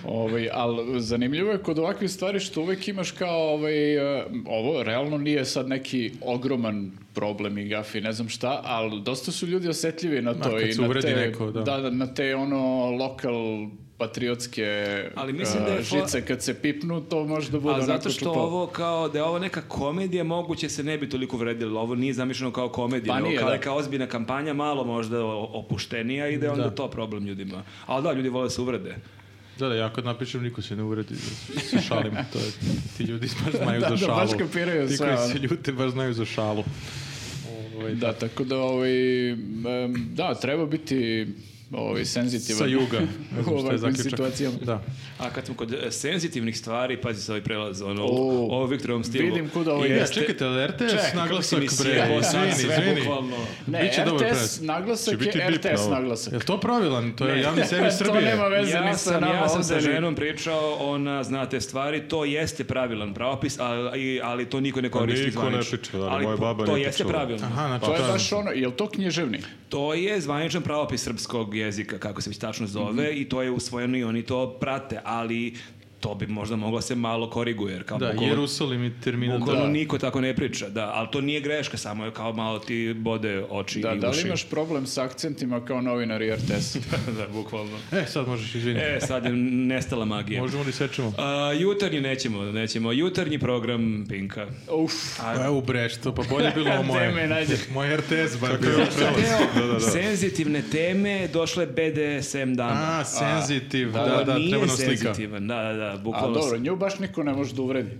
Ovaj, ali zanimljivo je kod ovakvih stvari što uvek imaš kao ovaj, e, ovo realno nije sad neki ogroman problem i gaf i ne znam šta, ali dosta su ljudi osjetljivi na to kad i se na uvredi te, neko, da. na te ono lokal patriotske Ali mislim da je e, fo- žice kad se pipnu, to može da bude A zato onako što čupavo. ovo kao da je ovo neka komedija, moguće se ne bi toliko vredilo. Ovo nije zamišljeno kao komedija, Pa nego nije, kao da. neka ozbiljna kampanja, malo možda o- opuštenija i da je onda Da. to problem ljudima. Ali da, ljudi vole da se uvrede. Da, da, ja kad napišem, niko se ne uredi, da se šalim, to je, ti ljudi baš znaju Da, za da, šalu. baš kapiraju Ti sve, koji ono. se ljute baš znaju za šalu. Ovaj, Da, tako da, ovaj, em, da, treba biti ovaj, senzitivan. Sa juga. Ne u znam šta je ovakvim zaključak. situacijama. Da. A kad smo kod e, senzitivnih stvari, pazi se ovaj prelaz, ono, O, ovo Viktorovom stilu. vidim kuda ovo I ide. Ja, E, jeste- čekajte, ali RTS E, Čekaj, kako naglasak, si mi bre, sjebao sad izvini, sve, izvini. bukvalno. Ne, Biće dobar RTS prelaz. naglasak Će je biti bip na RTS ovo. Je naglasak. li to pravilan? To je javni servis Srbije. to nema veze Ja ni sa sam, nama ja sam sa ovde, ni- ženom pričao, ona zna te stvari, to jeste pravilan pravopis, ali, ali to niko ne koristi niko ne zvanično. priča, da, ni ali moja po- baba to nije jeste pričala. pravilno. Aha, znači, To je to je- baš ono, je li to književni? To je zvaničan pravopis srpskog jezika, kako se već tačno zove, i to je usvojeno i oni to prate, ali to bi možda moglo se malo koriguje, jer kao Da, bukvalno- Jerusalim i terminal. bukvalno Da. niko tako ne priča, da, ali to nije greška, samo je kao malo ti bode oči Da, i da li uši. imaš problem sa akcentima kao novinar i RTS? da, bukvalno. E, sad možeš, izvini. E, sad je nestala magija. Možemo li sečemo? A, jutarnji nećemo, nećemo. Jutarnji program Pinka. Uf, Pa evo bre, što, pa bolje je bilo ovo moje. Gde me nađe? Moj RTS bar je bio. ovo prelaz? Da, da, da. Senzitivne teme došle E BDSM dama. A, senzitiv, da, Ovo da, nije treba nam slika. senzitivan, da, da, da, a bukvalno. dobro, nju baš niko ne može da uvredi.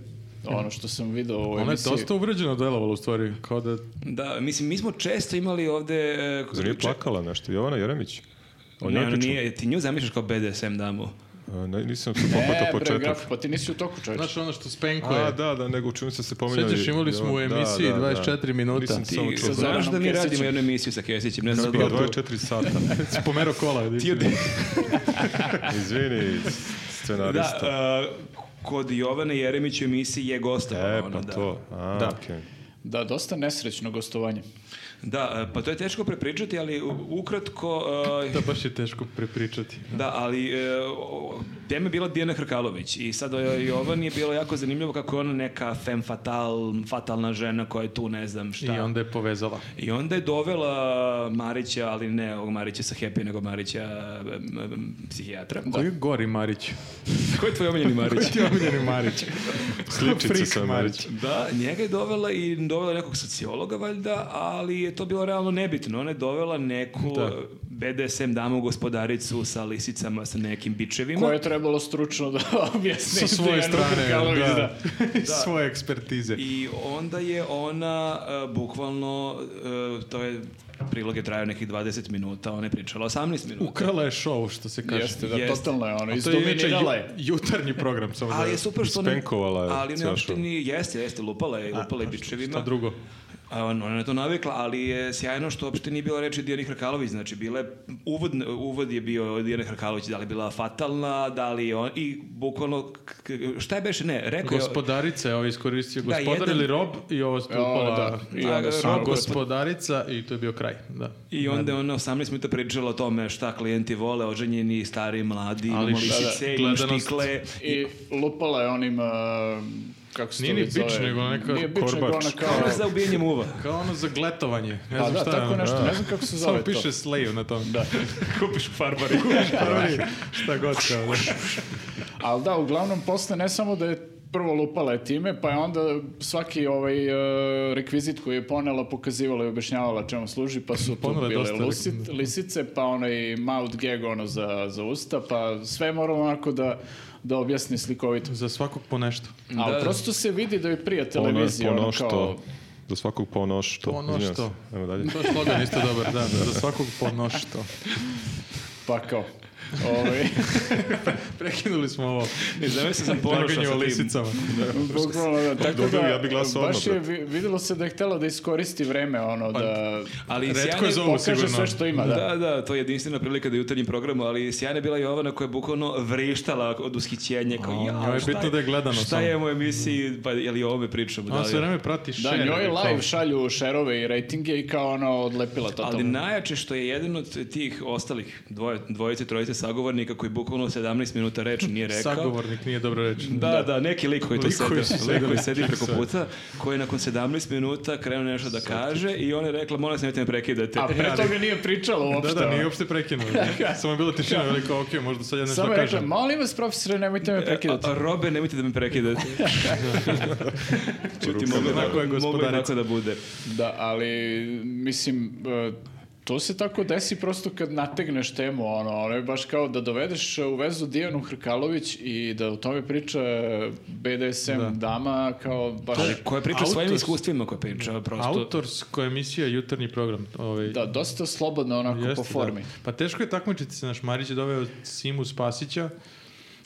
Ono što sam video u ovoj Ona Ono je emisiji. dosta uvređeno delovala u stvari, kao da... Da, mislim, mi smo često imali ovde... e, Zar nije če- plakala nešto? Jovana Jeremić? O njoj Ne, ona pričamo. nije, ti nju zamišljaš kao BDSM damu. A, ne, nisam se E, popatao bre, početak. graf, pa ti nisi u toku čovječe. Znaš ono što Spenko A, je. da, da, nego u čemu ste se pominjali. Sjećaš, imali smo u Da, emisiji da, da. 24 minuta. Nisam Ti- samo Ti čuo. sa- znaš da Zoranom mi Kesićem. radimo jednu emisiju sa Kesićem, ne znam Bilo da je li to... 24 sata. Pomero kola. vidi. Ti od- Izvini, Da, scenarista. e, kod Jovane Jeremić u emisiji je gostovala E, ona, pa da. to. A, Da. okej. Da, dosta nesrećno gostovanje. Da, e, pa to je teško prepričati, ali u- ukratko... e, Da, baš je teško prepričati. Da, ali e, o- o- tema je bila Dijana Hrkalović i sad o- Jovan je bilo jako zanimljivo kako je ona neka femme fatal, fatalna žena koja je tu ne znam šta. I onda je povezala. I onda je dovela Marića, ali ne ovog Marića sa Happy, nego Marića em, em, psihijatra. Koji je Gori Marić? Ko je tvoj omiljeni Marić? Ti je omiljeni Marić. Sličice Frik sa Marić. Marić. Da, njega je dovela i dovela nekog sociologa valjda, ali je to bilo realno nebitno. Ona je dovela neku Da. eh, BDSM damu gospodaricu sa lisicama, sa nekim bičevima. Koje je trebalo stručno da objasni. Sa svoje Dejanu strane, Hrkalović, da. Iz svoje ekspertize. I onda je ona e, bukvalno, e, to je prilog je trajao nekih 20 minuta, ona je pričala 18 minuta. Ukrala je show, što se kaže. Jeste, da, Jeste. totalno je ono, A To je inače izdominirala ju- je. jutarnji program. Samo da Ali je super što... ne- ispenkovala je Ali ceo ne, show. nije, jeste, jeste, lupala je, lupala je bičevima. Šta drugo? A, on- ona je na to navikla, ali je sjajno što uopšte nije bila reči Dijani Hrkalović, znači bila je, uvod, uvod je bio Dijane Hrkalović, da li je bila fatalna, da li je on, i bukvalno, k- k- šta je beše, ne, E, rekao je... Gospodarica je ovo iskoristio. Da, Gospodar jedan- ili rob i ovo ste O, upala... E, ono, da. I onda su A, A, rob- gospodarica i to je bio kraj. Da. I onda je ona 18 minuta pričala o tome šta klijenti vole, oženjeni, stari, mladi, imamo Ali šta da, lisice, imamo gledanost- štikle. I lupala je onim... a, kako se Nije to ni već zove? bič, nego neka Nije bič, nego korbač. ona kao... Kao za ubijenjem uva. Kao ono za gletovanje. Ne Pa znam da, šta je tako ono. nešto, ne znam kako se Samo zove to. piše Slayu na tom. Da. Kupiš u farbari. Kupiš u farbari. šta god kao. da. Ali da, uglavnom, posle ne samo da je prvo lupala je time, pa je onda svaki ovaj e, rekvizit koji je ponela pokazivala i objašnjavala čemu služi, pa su tu Ponela je bile dosta lusi- rekvizita. lisice, pa onaj mouth gag ono za, za usta, pa sve je moralo onako da, da objasni slikovito. Za svakog po nešto. Ali Da. prosto se vidi da joj prija Ono, televizija, ono, kao... ponošto. Za svakog ponošto. Ponošto. Izvinjavam se. Ajmo dalje. To je slogan isto dobar, da. Za svakog po nošto. Pa kao... Ovaj, Prekinuli smo ovo. Ne znam, se sam ponošao Traganje o sa tim. lisicama. bukvalno, da, tako da, Dobro, ja bi glasao baš je odmah, vi- videlo se da je htela da iskoristi vreme, ono, da Ali Retko sjajno je je za ovo pokaže sigurno. sve što ima, da. Da, da, to je jedinstvena prilika da je u jutarnjem programu, ali sjajna je bila Jovana koja je bukvalno vrištala od ushićenja. Kao, A, ja, njoj je šta bitno da je gledano Šta samo. je u emisiji, pa je li o ovome pričamo? Ona li sve je- vreme prati share. Da, njoj kao- live šalju šerove i rejtinge i kao ono odlepila totalno. Ali najjače što je jedan od tih ostalih dvoje, dvojice, trojice sagovornika koji bukvalno 17 minuta reč nije rekao. Sagovornik nije dobro reč. Da, da, neki lik koji tu Lik koji sedi, su lik sedeli. koji sedi preko Sad. puta, koji je nakon 17 minuta krenuo nešto da kaže i on je rekla, molim se, nemojte me prekidati. A pre ali- toga nije pričala Da, uopšte. da, nije ono. uopšte prekinuo. Samo je bila tišina veliko, ok, možda sad ja nešto Samo je rekla, kažem. E, molim vas profesore, nemojte me prekidati. E, A, a, Robe, nemojte da me prekidate. Čuti, mogu Ruka tako, je mogu gospodarica. tako da bude. Da, ali mislim... e, To se tako desi prosto kad nategneš temu, ono, ono je baš kao da dovedeš u vezu Dijanu Hrkalović i da o tome priča BDSM dama, kao baš... Ali koja priča o svojim Autos- iskustvima koja priča, prosto. Autorsko emisija jutarnji program. Ovaj, Da, dosta slobodno onako jeste, po formi. da. Pa teško je takmičiti se, naš Marić je doveo Simu Spasića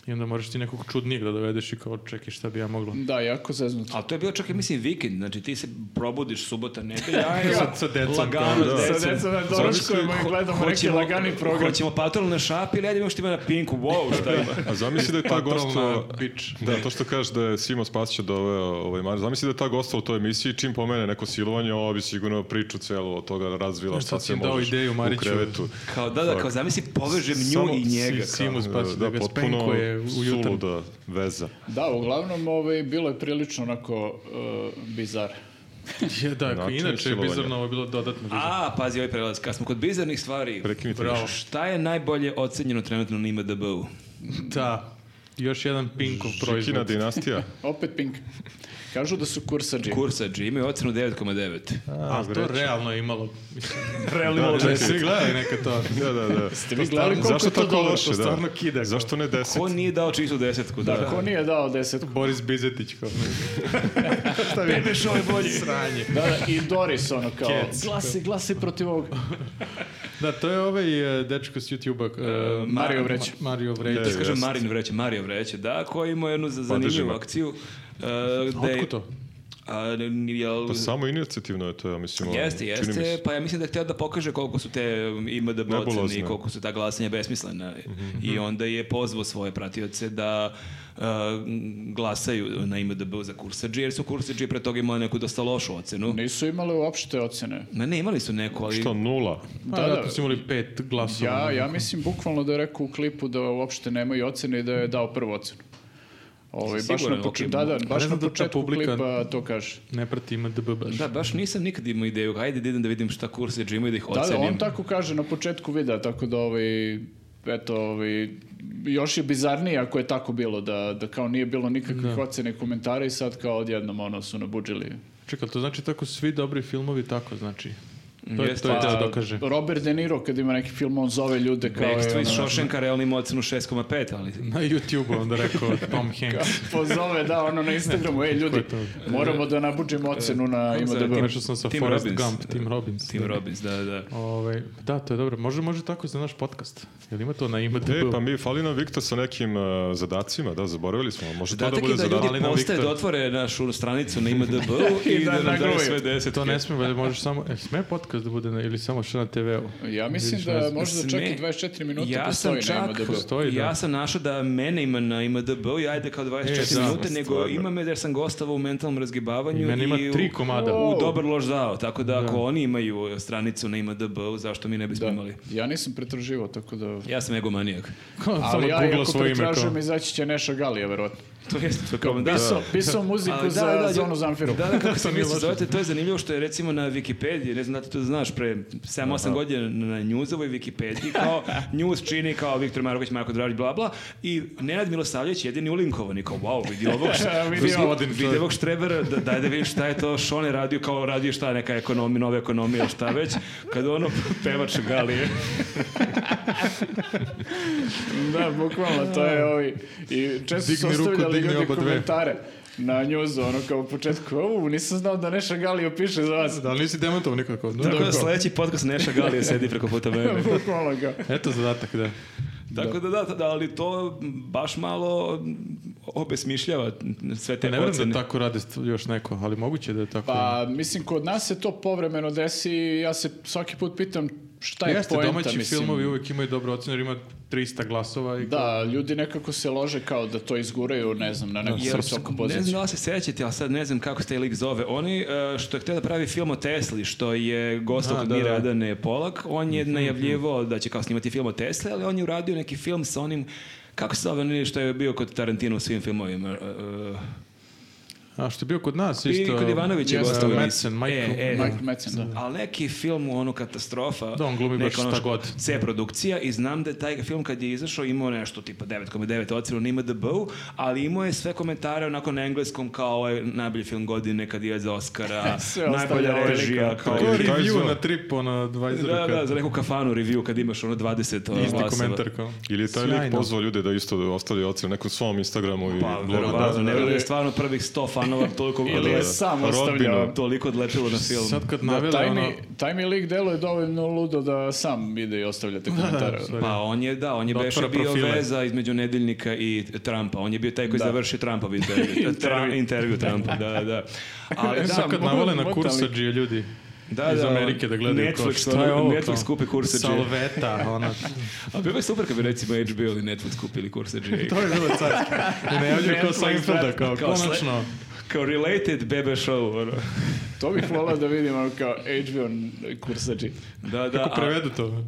i onda moraš ti nekog čudnijeg da dovedeš i kao čekaj šta bi ja mogla. Da, jako zeznuto. Ali to je bio čak, ja mislim, vikend, znači ti se probudiš subota, nedelja, Sa- sa decom, lagano, kao, da. s Sa decom. decom E, na doručkovima i Ho- gledamo neki lagani program. Hoćemo patrolne šape ili ajde imamo što ima na pinku, wow, šta ima. A zamisli da je Pa ta Patrolna gosta... bič. Da, to što kažeš da je Simo Spasića doveo ovaj Marić. Zamisli da je ta gosta u toj emisiji, čim pomene neko silovanje, ovo bi sigurno priču celu od toga razvila šta sad si sve im dao možeš ideju, u Mariću. krevetu. Kao, da, da, kao zamisli povežem nju Samo i njega. si- kao. Simu Spasića da, ga spenkuje u jutarnji. suluda veza. Da, uglavnom ovaj, bilo je prilično onako e, bizar. Je, da, ako Način inače je silovanja. bizarno, ovo je bilo dodatno bizarno. A, pazi ovaj prelaz, kad smo kod bizarnih stvari, Prekinite Bravo. šta je najbolje ocenjeno trenutno na IMDB-u? Da, još jedan Pinkov Žikina proizvod. dinastija. Opet Pink. Kažu da su kursađi. Kursađi imaju ocenu 9,9. Ali to realno je imalo. Mislim, realno imalo da, da, četiri. svi gledali neka to. Da, da, da. Ste vi gledali koliko Zašto je to tako dobro? loše? To stvarno Znači, Da. kida, kao. Zašto ne deset? Ko nije dao čistu desetku? Da, Da, ko nije dao desetku? Boris Bizetić kao. šta vi? Bebe show je ovaj bolji. Sranje. Da, da, i Doris ono kao, Cats. glasi, glasi protiv ovog. Da, to je ovaj e, dečko s YouTube-a. e, Mario Vreć. Mario Vreć. Da, Pa, Da kažem jeste. Marin Vreće, Mario Vreće, da, koji ima jednu za- zanimljivu Podržimo. akciju. Uh, Otko to? A, n- jel, Pa samo inicijativno je to, ja mislim. ono, Jeste, čini mi se. jeste, pa ja mislim da je htio da pokaže koliko su te um, IMDB ocene i Nebulozne. Mhm, koliko su ta glasanja besmislena. I onda je pozvao svoje pratioce da uh, glasaju na IMDB za kursađi, jer su kursađi pre toga imali neku dosta lošu ocenu. Nisu imale uopšte ocene. Ma ne, imali su neku, ali... Što, nula? Pa Da, da, tu su imali pet glasova. Ja, ja mislim bukvalno da je rekao u klipu da uopšte nemaju ocene i da je dao prvu ocenu. Ovaj, baš Siguran, na, poče... ok. da, da, Pa ne baš znam da na ta početku publika- klipa to kaže. Ne prati ima DB baš. Da, baš nisam nikad imao ideju, hajde da idem da vidim šta kursađi imaju da ih Da, ocenim. da, on tako kaže na početku videa, tako da ovaj, eto, ovaj, još je bizarnije ako je tako bilo, da, da kao nije bilo nikakvih ocena i komentara i sad kao odjednom ono su nabudžili Čekaj, to znači tako svi dobri filmovi tako znači? To je, Jeste. to je Pa, da dokaže. Robert De Niro kad ima neki film, on zove ljude kao... Bekstvo iz ono, Šošenka realno ima ocenu 6,5, ali... Na YouTube onda rekao Tom Hanks. Pozove, da, ono na Instagramu, ej ljudi, Ko je moramo da nabuđemo ocenu na Kako se zove? IMDb. Nešto sam sa Tim Forrest Robbins. Gump, Tim Robbins. Tim Robbins, da, da. Ovaj, da, to je dobro. Može, može tako i za naš podcast. Jel ima to na IMDb? E, pa mi fali nam Viktor sa nekim e, zadacima, da, zaboravili smo. Može to da Zadatak bude je da zadatak. ljudi Ali na postaje da Viktor. otvore našu stranicu na IMDB i, I da da, nam daju nagruvaju. sve deset. To ne smije, valjda možeš samo... E, sme podcast da bude na, ili samo što na TV-u? Ja mislim Vidiš, ne da znam. možda čak Sme- i 24 minuta ja sam postoji na čak, IMDb. Postoji, da. ja sam našao da mene ima na IMDB i ajde kao 24 E, da. minute, nego Stvarno. ima me jer sam gostava u mentalnom razgibavanju. I meni ima i u- tri komada. O, U dobar loš zao, tako da ako oni imaju stranicu na IMDB, zašto mi ne bismo Da. imali? Ja nisam pretraživao, tako da... Ja sam egomanijak. Kao, samo Ali ja, googla ako svoje ime kao... pretražujem, izaći će Neša Galija, verovatno. To jeste, to je kao da. Pisao, pisao A, muziku da, za da, da, zonu Zamfiru. Da, da, kako se nije vi se loše. zovete, to je zanimljivo što je recimo na Wikipediji, ne znam da ti to znaš, pre 7-8 godina na Newsovoj Wikipediji, kao News čini kao Viktor Marović, Marko Dražić, bla, bla, i Nenad Milosavljević jedini ulinkovan i kao, wow, vidi ovog, Vidi vidi, ovog. vidi ovog štrebera, da, daj da vidim šta je to, što on je radio, kao radio šta, neka ekonomija, nova ekonomija, šta već, kad ono pevač Galije. Da, bukvalno, to je ovi. I često su Digni ruku, ostavljali digni ljudi oba dve. komentare na njuzu, ono kao u početku, u, nisam znao da Neša Galio piše za vas. Da, ali nisi demantovo nikako. No, Tako dobro. da sledeći podcast Neša Galije sedi preko puta mene. bukvalno kao. Eto zadatak, E, da. Tako da, da, da, ali to baš malo obesmišljava sve te Pa Ne vjerujem ocene. da tako radi st- još neko, ali moguće da je tako. Pa, mislim, kod nas se to povremeno desi i ja se svaki put pitam šta je Jeste, poenta, domaći mislim. filmovi uvijek imaju dobro ocenu, jer ima 300 glasova i Da, ljudi nekako se lože kao da to izguraju, ne znam, na neku Jer, visoku ne poziciju. znam da li se sećate, ali sad ne znam kako se taj lik zove. Oni eh, što je htio da pravi film o Tesli, što je gostao A, kod da, Mhm, Mira da. Adane Polak, on je najavljivao da će kao snimati film o Tesli, ali on je uradio neki film sa onim, kako se zove onaj što je bio kod Tarantina u svim filmovima? eh, eh, A što je bio kod nas I isto... kod Ivanovića je Jeste, gostao. u Madsen, emisiji. Michael. E, e, Mike Madsen, da. Ali neki film u ono katastrofa. Da, on glumi baš neka ono šta što- god. C produkcija i znam da je taj film kad je izašao imao nešto tipa 9,9 ocenu na IMDb-u, ali imao je sve komentare onako na engleskom kao ovaj najbolji film godine kad je za Oscara, Sve najbolja ostavlja režija, velika. kao... To je Taj review zvon. na trip, ono, 20 Da, da, ruka. za neku kafanu review kad imaš ono 20 ono, Isti glasova. komentar kao. Ili je taj lik Sjajno. pozvao ljude da isto ostavljaju ocenu na nekom svom Instagramu i Pa, blogu, da. verovatno, ne vjerujem da je stvarno prvih 100 fanova toliko... Ili je sam ostavljao. Toliko odlepilo na film. Sad kad Da, navele, taj, mi, ono... taj mi lik deluje dovoljno ludo da sam ide i ostavljate komentare. Pa on je, da, on je Da beše bio otvara profile. veza između nedeljnika i Trumpa. On je bio taj koji Da. završi Trumpov intervju. Tra- intervju Trumpa, da, da, da. Ali da, Sad kad mogu- navele na E, mogu- kursađije ljudi Da, iz da, Amerike da gledaju kao, Netflix, šta je ono, ovo? Netflix kao? kupi kursadžije. Salveta, ono. A bilo je super kad bi recimo HBO ili Netflix kupili kurse G. To je bilo carski. I ne javljaju kao Netflix, Seinfelda, kao, kao sle- konačno. Kao related bebe show, ono. To bih volao da vidim ono kao HBO kursači. Da, da. Kako a- prevedu to?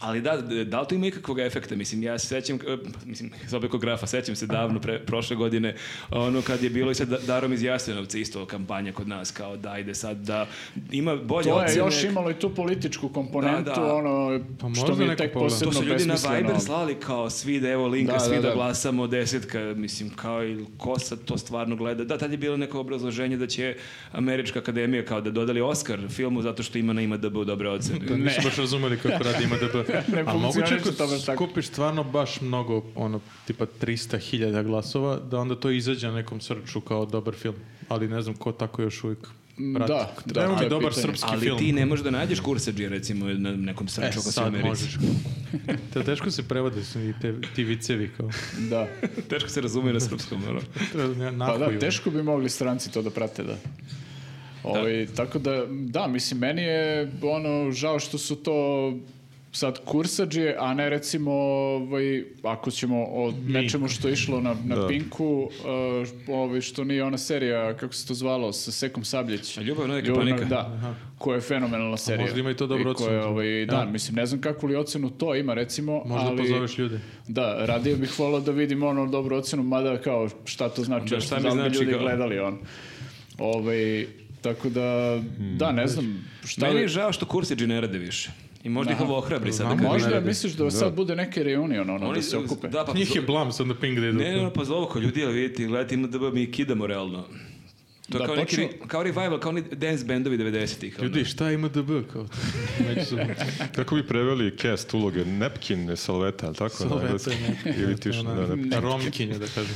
Ali da, da li to ima ikakvog efekta? Mislim, ja se sećam, eh, mislim, iz obe kod grafa, sećam se davno, pre, prošle godine, ono kad je bilo i sa Da- Darom iz Jasenovca, isto kampanja kod nas, kao da ide sad da ima bolje To je ocene. još imalo i tu političku komponentu, Da, da. ono, Pa što možda mi je neko tek pogleda. posebno To su ljudi na besmisleno. Viber slali kao svi da evo linka, Da, svi da, da, da. glasamo desetka, mislim kao i ko sad to stvarno gleda. Da, tad je bilo neko obrazloženje da će Američka akademija kao da dodali Oscar filmu zato što ima na IMDB dobre ocene. Da, nisu baš razumeli kako radi ima DB. Ne A moguće funkcioniše ako to baš tako. skupiš stvarno baš mnogo, ono, tipa 300.000 glasova, da onda to izađe na nekom srču kao dobar film. Ali ne znam ko tako još uvijek prati. Mm, da, da, Treba to mi je dobar pitanje. srpski Ali film. ti ne možeš da nađeš kurseđe recimo na nekom E, srču ako si u sad Americi. možeš. Te, teško se prevode su i te, ti vicevi kao. Da. Teško se razumije na srpskom, ono. Treba na- Pa da, nahuju. teško bi mogli stranci to da prate, da. Ovaj, Tako da, da, mislim, meni je ono, žao što su to sad kursađe, a ne recimo ovaj, ako ćemo o nečemu što je išlo na, na Pinku, uh, ovaj, što nije ona serija, kako se to zvalo, sa Sekom Sabljeć. A Ljubav na neke Ljubav na- panika. Da, koja je fenomenalna serija. možda ima i to dobru I koja je, ocenu. Ovaj, da, Ja. mislim, ne znam kakvu li ocenu to ima, recimo. Možda ali... pozoveš ljude. Da, radije bih volao da vidim ono dobru ocenu, mada kao šta to znači, Da, šta mi da li bi znači ljudi kao- gledali on. Ovaj, tako da, Hmm. da, ne znam šta... Meni li- je žao što kurseđe ne rade više. I možda ih ovo ohrabri sad. A da kažem. ne Možda radi. misliš da, sad bude neki reunion, ono, da se okupe. da, pa Njih je blam sad na ping da idu. Ne, ne, ne, pa zovu kao ljudi, ali vidite, gledajte, ima da mi kidamo realno. To je Da, kao, neki, počnu- re- kao revival, kao oni dance bendovi 90-ih. ono. Ljudi, šta ima DB kao to? Međusobno. Kako bi preveli cast uloge? Nepkin, salveta, ali tako? na Salveta, engleskom? nepkin, Pa Ili tiš, da, ona- nepkin. Romkinje, da kažem.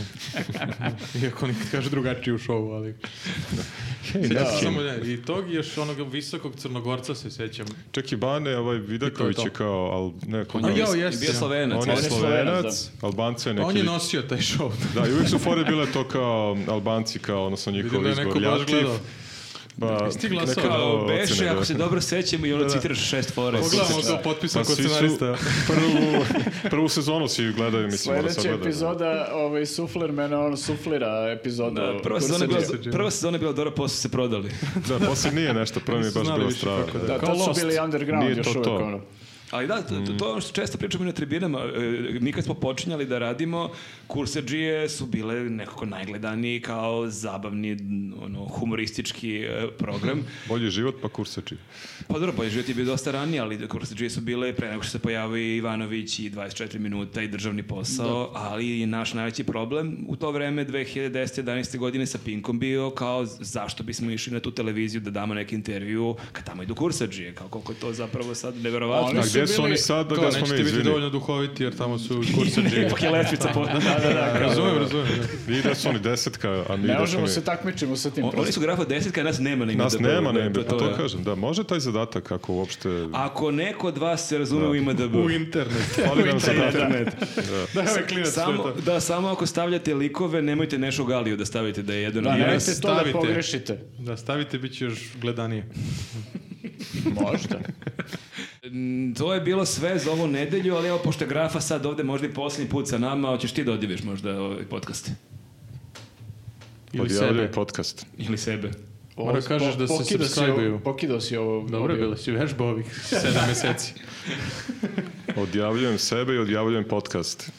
Ono, Iako oni kažu drugačije u šovu, ali... Sjećam se samo, ne, I tog i još onog visokog crnogorca se sjećam. Čak i Bane, ovaj Vidaković to. je kao, ali ne, ko A je- jao, I jeste, bio ja. Slovenac. On je Slovenac, slovenac, albanci je neki... On je nosio taj šov. Da, i uvijek su fore bile to kao um, albanci, kao odnosno njihov Vidim da je neko izbor. baš Ljativ, gledao. pa, Jesi ti glasao? neka Kao ocena, beše, da. ako se dobro sećam, i ono citiraš šest fore. Pogledamo to potpisan Pa kod svi su- scenarista. prvu, prvu sezonu si gledaju, mislim, mora sad Sljedeća gledati. epizoda, ovaj, Suflermena, on suflira epizodu. Da, prva Kursa sezona, je bila, Djece. prva sezona je bila dobra, posle su se prodali. Da, poslije nije nešto, prvo mi je baš Znali bilo više strava. kako Da, Kao to su Lost. bili underground Nije još to uvijek. to. ono. Ali da, to, to je ono što često pričamo i na tribinama. E, Mi kad smo počinjali da radimo, kurseđije su bile nekako najgledaniji kao zabavni, ono, humoristički e, program. Bolji život, pa kurseči. Pa dobro, bolje život je bio dosta ranije, ali kurseđije su bile pre nego što se pojavio i Ivanović i 24 minuta i državni posao, ali i naš najveći problem u to vreme 2010-11. godine sa Pinkom bio kao zašto bismo išli na tu televiziju da damo neki intervju kad tamo idu kurseđije, kao koliko je to zapravo sad neverovatno. Oni A su gdje su bili- oni sad, a Kao, gdje smo mi, nećete biti izvini? dovoljno duhoviti jer tamo su kursađe. Ipak je letvica po... Razumem, razumem. da. I da su oni desetka, a mi Ne da smo možemo mi... se takmičimo sa tim. O- Oni su grafa desetka, nas nema na Nas IMDb-u, nema, da, ne, pa to je. kažem, da, može taj zadatak ako uopšte... Ako neko od vas se razume u IMDB. U internet. Fali nam zadatak. Da, ovaj klinac Samo, to je to. da, samo ako stavljate likove, nemojte Nešu Galiju da stavite da je jedan Da, od ne. njih. nemojte to da stavite. pogrešite. Da, stavite, bit će još gledanije. Možda. Mm, To je bilo sve za ovu nedelju, ali evo, pošto je grafa sad ovde možda i posljednji put sa nama, hoćeš ti da odiviš možda ovaj podcast. Ili sebe. Odjavljaju podcast. Ili sebe. Mora Ovo- kažeš da se pokidao si subscribe-uju. ovo- Pokidao si ovo. Dobro je bilo, si vežba ovih sedam meseci. Odjavljujem sebe i odjavljujem podcast.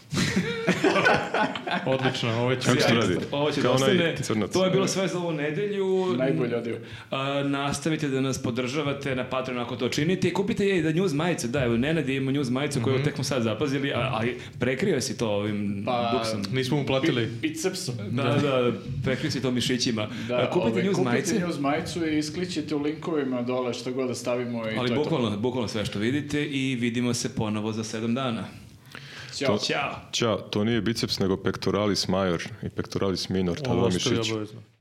Odlično, ovo je Kako se to radi? Ovo će da Kao ostane. onaj crnac. To je bilo sve za ovu nedelju. Najbolje odio. A, nastavite da nas podržavate na Patreon ako to činite i kupite je i da news majice. Da, evo, Nenad je imao news majicu koju Mhm. tek smo sad zapazili, a, a prekrio si to ovim Pa, buksom. Nismo mu platili. Bicepsom. Da, da, prekrio si to mišićima. Da, A, E, kupite ovaj, news kupite majice. news majicu i iskličite u linkovima dole što god da stavimo i Ali to je to. bukvalno, bukvalno sve što vidite i vidimo se ponovo za sedam dana. Ćao. Ćao! Ćao, to nije biceps, nego pektoralis major i pektoralis minor, ta Ovo dva ostavi mišića. obavezno.